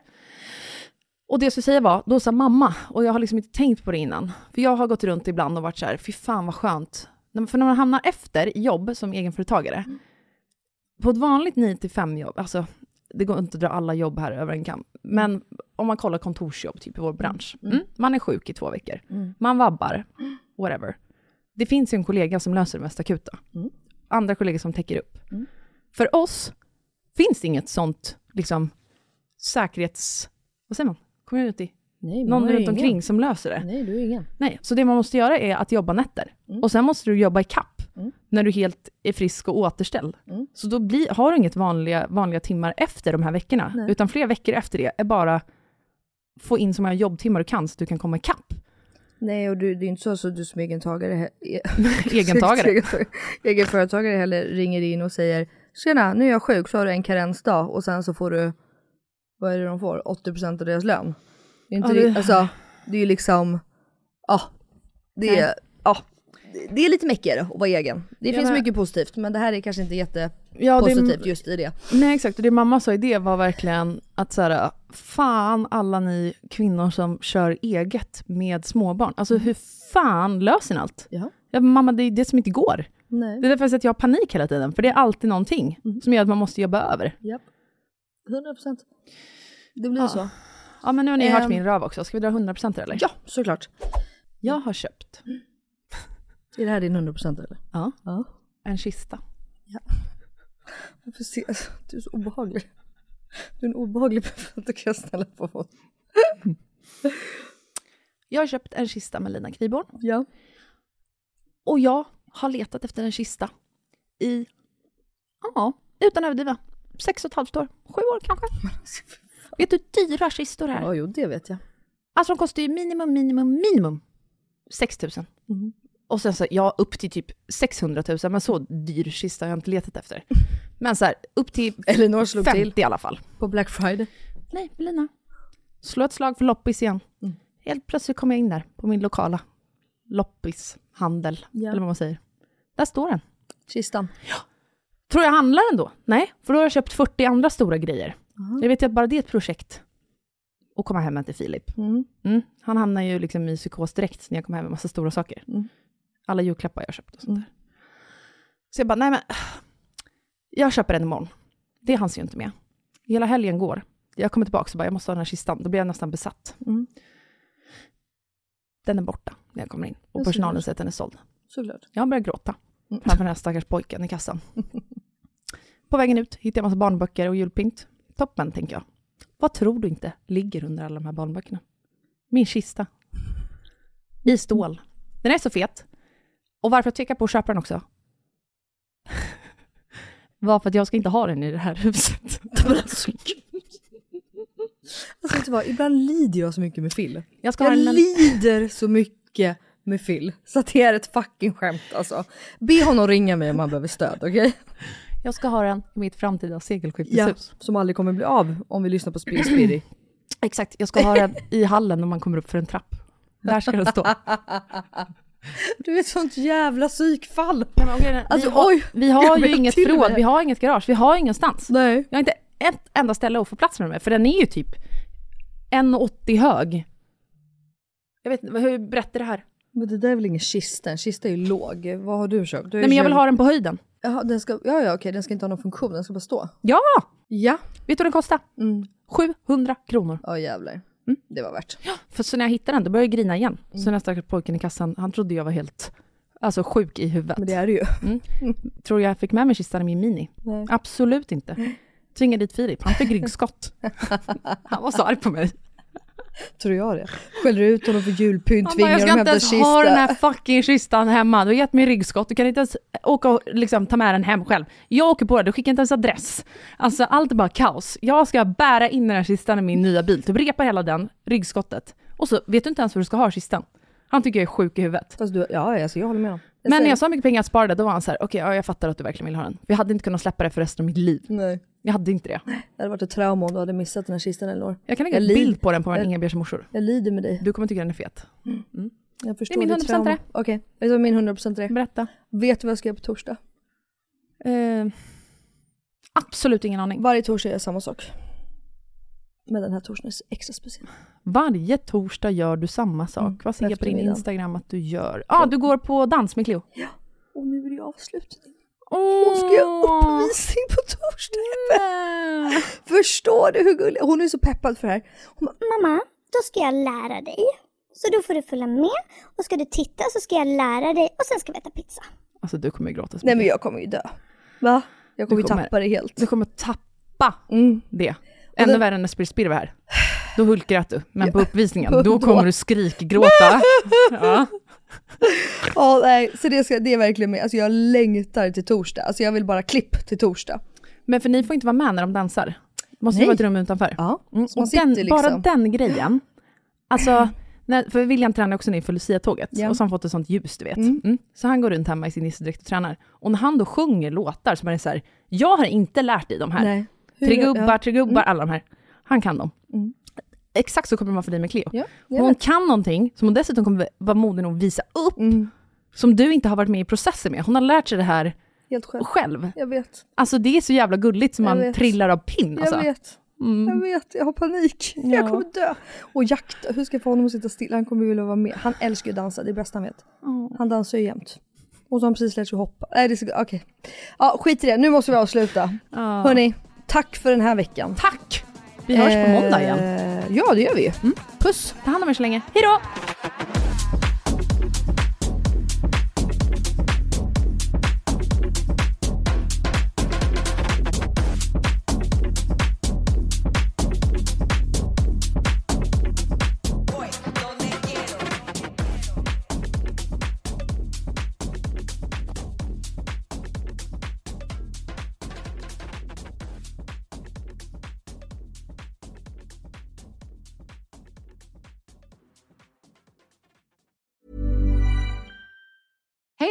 Speaker 4: Och det jag skulle säga var, då sa mamma, och jag har liksom inte tänkt på det innan, för jag har gått runt ibland och varit så här, fy fan vad skönt. När- För när man hamnar efter i jobb som egenföretagare, på ett vanligt 9 till 5 jobb, alltså det går inte att dra alla jobb här över en kam, men om man kollar kontorsjobb typ i vår bransch, mm. man är sjuk i två veckor,
Speaker 14: Mm.
Speaker 4: man vabbar, whatever. Det finns ju en kollega som löser det mest akuta, andra kollegor som täcker upp.
Speaker 14: Mm.
Speaker 4: För oss finns det inget sånt liksom, säkerhets... Vad säger man? Community?
Speaker 14: Nej, man
Speaker 4: Någon
Speaker 14: har ju
Speaker 4: runt omkring
Speaker 14: ingen.
Speaker 4: som löser det.
Speaker 14: Nej, du är ingen.
Speaker 4: Nej, så det man måste göra är att jobba nätter. Och sen måste du jobba i kapp när du helt är frisk och återställd. Så då blir, har du inget vanliga, vanliga timmar efter de här veckorna,
Speaker 14: Nej.
Speaker 4: utan flera veckor efter det är bara få in så många jobbtimmar du kan så du kan komma i kapp.
Speaker 3: Nej, och du, det är inte så att du som egentagare, he-
Speaker 4: Egentagare.
Speaker 3: Egentagare. egenföretagare heller ringer in och säger Tjena, nu är jag sjuk, så har du en karensdag och sen så får du, vad är det de får, 80% av deras lön. Det är inte
Speaker 4: Ja,
Speaker 3: det...
Speaker 4: det-
Speaker 3: Alltså, det är ju liksom, ja, det är,
Speaker 4: Nej.
Speaker 3: ja, det- det är lite mäckigare att vara egen. Det
Speaker 4: Ja,
Speaker 3: finns
Speaker 4: men-
Speaker 3: mycket positivt, men det här är kanske inte
Speaker 4: Ja, det är-
Speaker 3: jättepositivt just i det.
Speaker 4: Nej exakt, och det mamma sa i det var verkligen att så här, fan alla ni kvinnor som kör eget med småbarn, alltså hur fan löser ni allt?
Speaker 3: Ja.
Speaker 4: mamma, det är det som inte går.
Speaker 3: Nej.
Speaker 4: Det är därför jag säger att jag har panik hela tiden, för det är alltid någonting som gör att man måste jobba över.
Speaker 3: Japp. 100%. Det blir så.
Speaker 4: Ja, men nu har ni hört
Speaker 3: Ehm.
Speaker 4: min röv också, ska vi dra 100% eller?
Speaker 3: Ja, såklart.
Speaker 4: Jag har köpt.
Speaker 3: Är det här din 100% eller?
Speaker 4: Ja.
Speaker 3: ja.
Speaker 4: En kista.
Speaker 3: Varför ser alltså, Du är så obehaglig. Du är en obehaglig present att kan snälla på folk.
Speaker 4: Jag har köpt en kista med Lina Kriborn.
Speaker 3: Ja.
Speaker 4: Och jag har letat efter en kista i, ja, utan att överdriva, sex och ett halvt år. Sju år kanske. vet du hur dyra kistor är?
Speaker 3: Ja, jo, det vet jag.
Speaker 4: Alltså de kostar ju minimum, minimum, minimum 6 000.
Speaker 3: Mhm.
Speaker 4: Och sen så, ja, upp till typ 600 000, men så dyr kista har jag inte letat efter. Men så här, upp till
Speaker 3: Elinor slog
Speaker 4: 50
Speaker 3: till.
Speaker 4: i alla fall.
Speaker 3: På Black Friday.
Speaker 4: Nej, Lina. Slå ett slag för loppis igen.
Speaker 3: Mm.
Speaker 4: Helt plötsligt kom jag in där på min lokala loppishandel,
Speaker 3: Ja.
Speaker 4: eller vad man säger. Där står den.
Speaker 3: Kistan.
Speaker 4: Tror jag handlar den då? Nej, för då har jag köpt 40 andra stora grejer. Jag vet ju att bara det är ett projekt. Och komma hem till Filip.
Speaker 3: Mm.
Speaker 4: Mm. Han hamnar ju liksom i psykos direkt när jag kommer hem med massa stora saker.
Speaker 3: Mm.
Speaker 4: Alla julklappar jag köpt och sånt där. Så jag bara, nej men, jag köper den imorgon. Det hanns ju inte med. Hela helgen går. Jag kommer tillbaka och bara, jag måste ha den här kistan. Då blir jag nästan besatt.
Speaker 3: Mm.
Speaker 4: Den är borta när jag kommer in.
Speaker 3: Jag
Speaker 4: Och
Speaker 3: ser
Speaker 4: personalen
Speaker 3: det.
Speaker 4: säger att den är såld.
Speaker 3: Såklart.
Speaker 4: Jag börjar gråta framför den här stackars pojken i kassan. På vägen ut hittar jag massa barnböcker och julpynt. Toppen, tänker jag. Vad tror du inte ligger under alla de här barnböckerna? Min kista. I stål. Den är så fet. Och varför jag tvekar på att köpa den också? var för att jag ska inte ha den i det här huset.
Speaker 3: Alltså vet du vad, ibland lider jag så mycket med Phil.
Speaker 4: Jag, ska
Speaker 3: jag
Speaker 4: ha den-
Speaker 3: lider så mycket med Phil. Så att det är ett fucking skämt alltså. Be honom ringa mig om han behöver stöd, okej?
Speaker 4: jag ska ha den i mitt framtida segelskifteshus.
Speaker 3: Ja, som aldrig kommer bli av om vi lyssnar på Spill Spiri.
Speaker 4: Exakt, jag ska ha den i hallen när man kommer upp för en trapp. Där ska den stå.
Speaker 3: Du är ett sånt jävla psykfall.
Speaker 4: Alltså, vi har,
Speaker 3: oj,
Speaker 4: vi
Speaker 3: jag
Speaker 4: har ju
Speaker 3: blev
Speaker 4: inget
Speaker 3: till
Speaker 4: förråd,
Speaker 3: mig.
Speaker 4: vi har inget garage, vi har ingenstans.
Speaker 3: Nej.
Speaker 4: Jag har inte ett enda ställe att få plats med den här, för den är ju typ 1,80 hög. Jag vet inte, hur berättar det här?
Speaker 3: Men det där är väl ingen kista? En kista är ju låg. Vad har du köpt? Du
Speaker 4: Nej men jag vill ha den på höjden.
Speaker 3: Jaha, den ska, ja, ja, okej, den ska inte ha någon funktion, den ska bara stå.
Speaker 4: Ja!
Speaker 3: Ja.
Speaker 4: Vet du vad den kostar?
Speaker 3: Mm.
Speaker 4: 700 kronor.
Speaker 3: Ja, jävlar.
Speaker 4: Mm.
Speaker 3: Det var värt.
Speaker 4: För så när jag hittade den, då började jag grina igen. Så den här stackars pojken i kassan, han trodde jag var helt alltså, sjuk i huvudet. Men
Speaker 3: det är du ju.
Speaker 4: Mm. Tror jag fick med mig kistan i min mini?
Speaker 3: Nej.
Speaker 4: Absolut inte. Tvingade dit Filip, han fick ryggskott. han var så arg på mig.
Speaker 3: Tror jag det. Skäller ut honom för julpynt,
Speaker 4: Han bara,
Speaker 3: tvingar
Speaker 4: jag ska
Speaker 3: honom hämta
Speaker 4: inte ens
Speaker 3: kista.
Speaker 4: ha den här fucking kistan hemma. Du har gett mig ryggskott. Du kan inte ens åka och liksom, ta med den hem själv. Jag åker på det, du skickar inte ens adress. Alltså allt är bara kaos. Jag ska bära in den här kistan i min nya bil, typ repa hela den, ryggskottet. Och så vet du inte ens hur du ska ha kistan. Han tycker jag är sjuk i huvudet.
Speaker 3: Fast du, ja, alltså, jag håller med honom.
Speaker 4: Men när
Speaker 3: säger-
Speaker 4: jag sa hur mycket pengar jag sparade, då var han så här, okej, ja, jag fattar att du verkligen vill ha den. För jag hade inte kunnat släppa det för resten av mitt liv.
Speaker 3: Nej.
Speaker 4: Jag hade inte det.
Speaker 3: Det hade varit ett trauma om du hade missat den här kistan eller år.
Speaker 4: Jag kan lägga en
Speaker 3: lid-
Speaker 4: bild på den på
Speaker 3: jag-
Speaker 4: en Inga-Bjärs morsor.
Speaker 3: Jag lider med dig.
Speaker 4: Du kommer tycka den är fet. Mm.
Speaker 3: Jag förstår
Speaker 4: Det är min
Speaker 3: ditt
Speaker 4: 100%
Speaker 3: trauma.
Speaker 4: det.
Speaker 3: Okej, vet du vad min 100% är?
Speaker 4: Berätta.
Speaker 3: Vet du vad jag ska göra på torsdag?
Speaker 4: Eh, absolut ingen aning.
Speaker 3: Varje torsdag gör jag samma sak. Men den här torsdagen är så extra speciell.
Speaker 4: Varje torsdag gör du samma sak. Vad ser jag på din
Speaker 3: eftermiddagen.
Speaker 4: Instagram att du gör? Mm, Ja, ah, du går på dans med Cleo.
Speaker 3: Och nu är det avslutning.
Speaker 4: Åh,
Speaker 3: ska jag ha uppvisning på torsdag? Förstår du hur gullig? Hon är så peppad för det här. Hon bara,
Speaker 15: Mamma, då ska jag lära dig. Så då får du följa med och ska du titta så ska jag lära dig och sen ska vi äta pizza.
Speaker 4: Alltså du kommer ju gråta. så
Speaker 3: nej men
Speaker 4: mycket.
Speaker 3: jag kommer ju dö. Va? Jag kommer, ju
Speaker 4: Du
Speaker 3: tappa det helt.
Speaker 4: Du kommer tappa Mm. det.
Speaker 3: Och
Speaker 4: Ännu
Speaker 3: den-
Speaker 4: värre än när Spirspir var här. Då hulkgrät du, men på uppvisningen,
Speaker 3: Då-
Speaker 4: då kommer du skrikgråta. ja.
Speaker 3: Ja, nej, så det, ska, det är verkligen min, alltså jag längtar till torsdag. Alltså jag vill bara klipp till torsdag.
Speaker 4: Men för ni får inte vara med när de dansar. Måste
Speaker 3: Nej.
Speaker 4: ju vara ett rum utanför.
Speaker 3: Ja,
Speaker 4: mm.
Speaker 3: så man
Speaker 4: och den,
Speaker 3: sitter liksom.
Speaker 4: Bara den grejen. Alltså, när, för William tränar också nu inför Lucia-tåget.
Speaker 3: Ja.
Speaker 4: Och så har han fått ett sånt ljus, du vet.
Speaker 3: Mm.
Speaker 4: Mm. Så han går runt hemma i sin nissedräkt och tränar. Och när han då sjunger låtar som är det så här, jag har inte lärt dig de här.
Speaker 3: Nej. Hur-
Speaker 4: Tre gubbar,
Speaker 3: ja.
Speaker 4: tre gubbar,
Speaker 3: Mm.
Speaker 4: alla de här. Han kan dem.
Speaker 3: Mm.
Speaker 4: Exakt så kommer det vara för dig med Cleo.
Speaker 3: jag
Speaker 4: hon
Speaker 3: vet.
Speaker 4: kan någonting som hon dessutom kommer vara modig nog att visa upp.
Speaker 3: Mm.
Speaker 4: Som du inte har varit med i processen med. Hon har lärt sig det här
Speaker 3: Helt själv.
Speaker 4: själv.
Speaker 3: Jag vet.
Speaker 4: Alltså det är så jävla gulligt som
Speaker 3: Jag
Speaker 4: man
Speaker 3: vet.
Speaker 4: trillar av pinn. Alltså.
Speaker 3: Jag vet.
Speaker 4: Mm.
Speaker 3: Jag vet, jag har panik. Jag kommer dö. Och jakta, hur ska jag få honom att sitta still? Han kommer ju vilja vara med. Han älskar ju att dansa, det är det bästa han vet. Han dansar ju jämt. Och så har han precis lärt sig hoppa. Nej, det är så... Okej. Ja, skit i det. Nu måste vi avsluta.
Speaker 4: Ja.
Speaker 3: Hörni, tack för den här veckan.
Speaker 4: Tack! Vi hörs på måndag igen.
Speaker 3: Eh.
Speaker 4: Mm.
Speaker 3: Ja, det gör vi ju.
Speaker 4: Puss! Ta hand om er så länge. Hej då!
Speaker 1: Hey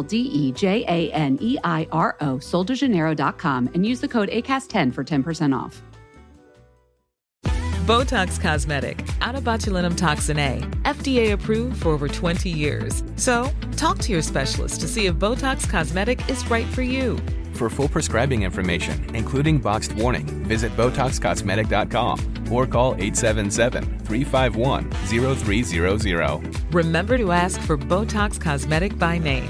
Speaker 1: D E J A N E I R O, soldejaneiro.com, and use the code ACAST10 for 10% off.
Speaker 12: Botox Cosmetic, out of botulinum toxin A, FDA approved for over 20 years. So, talk to your specialist to see if Botox Cosmetic is right for you.
Speaker 16: For full prescribing information, including boxed warning, visit BotoxCosmetic.com or call 877-351-0300.
Speaker 12: Remember to ask for Botox Cosmetic by name.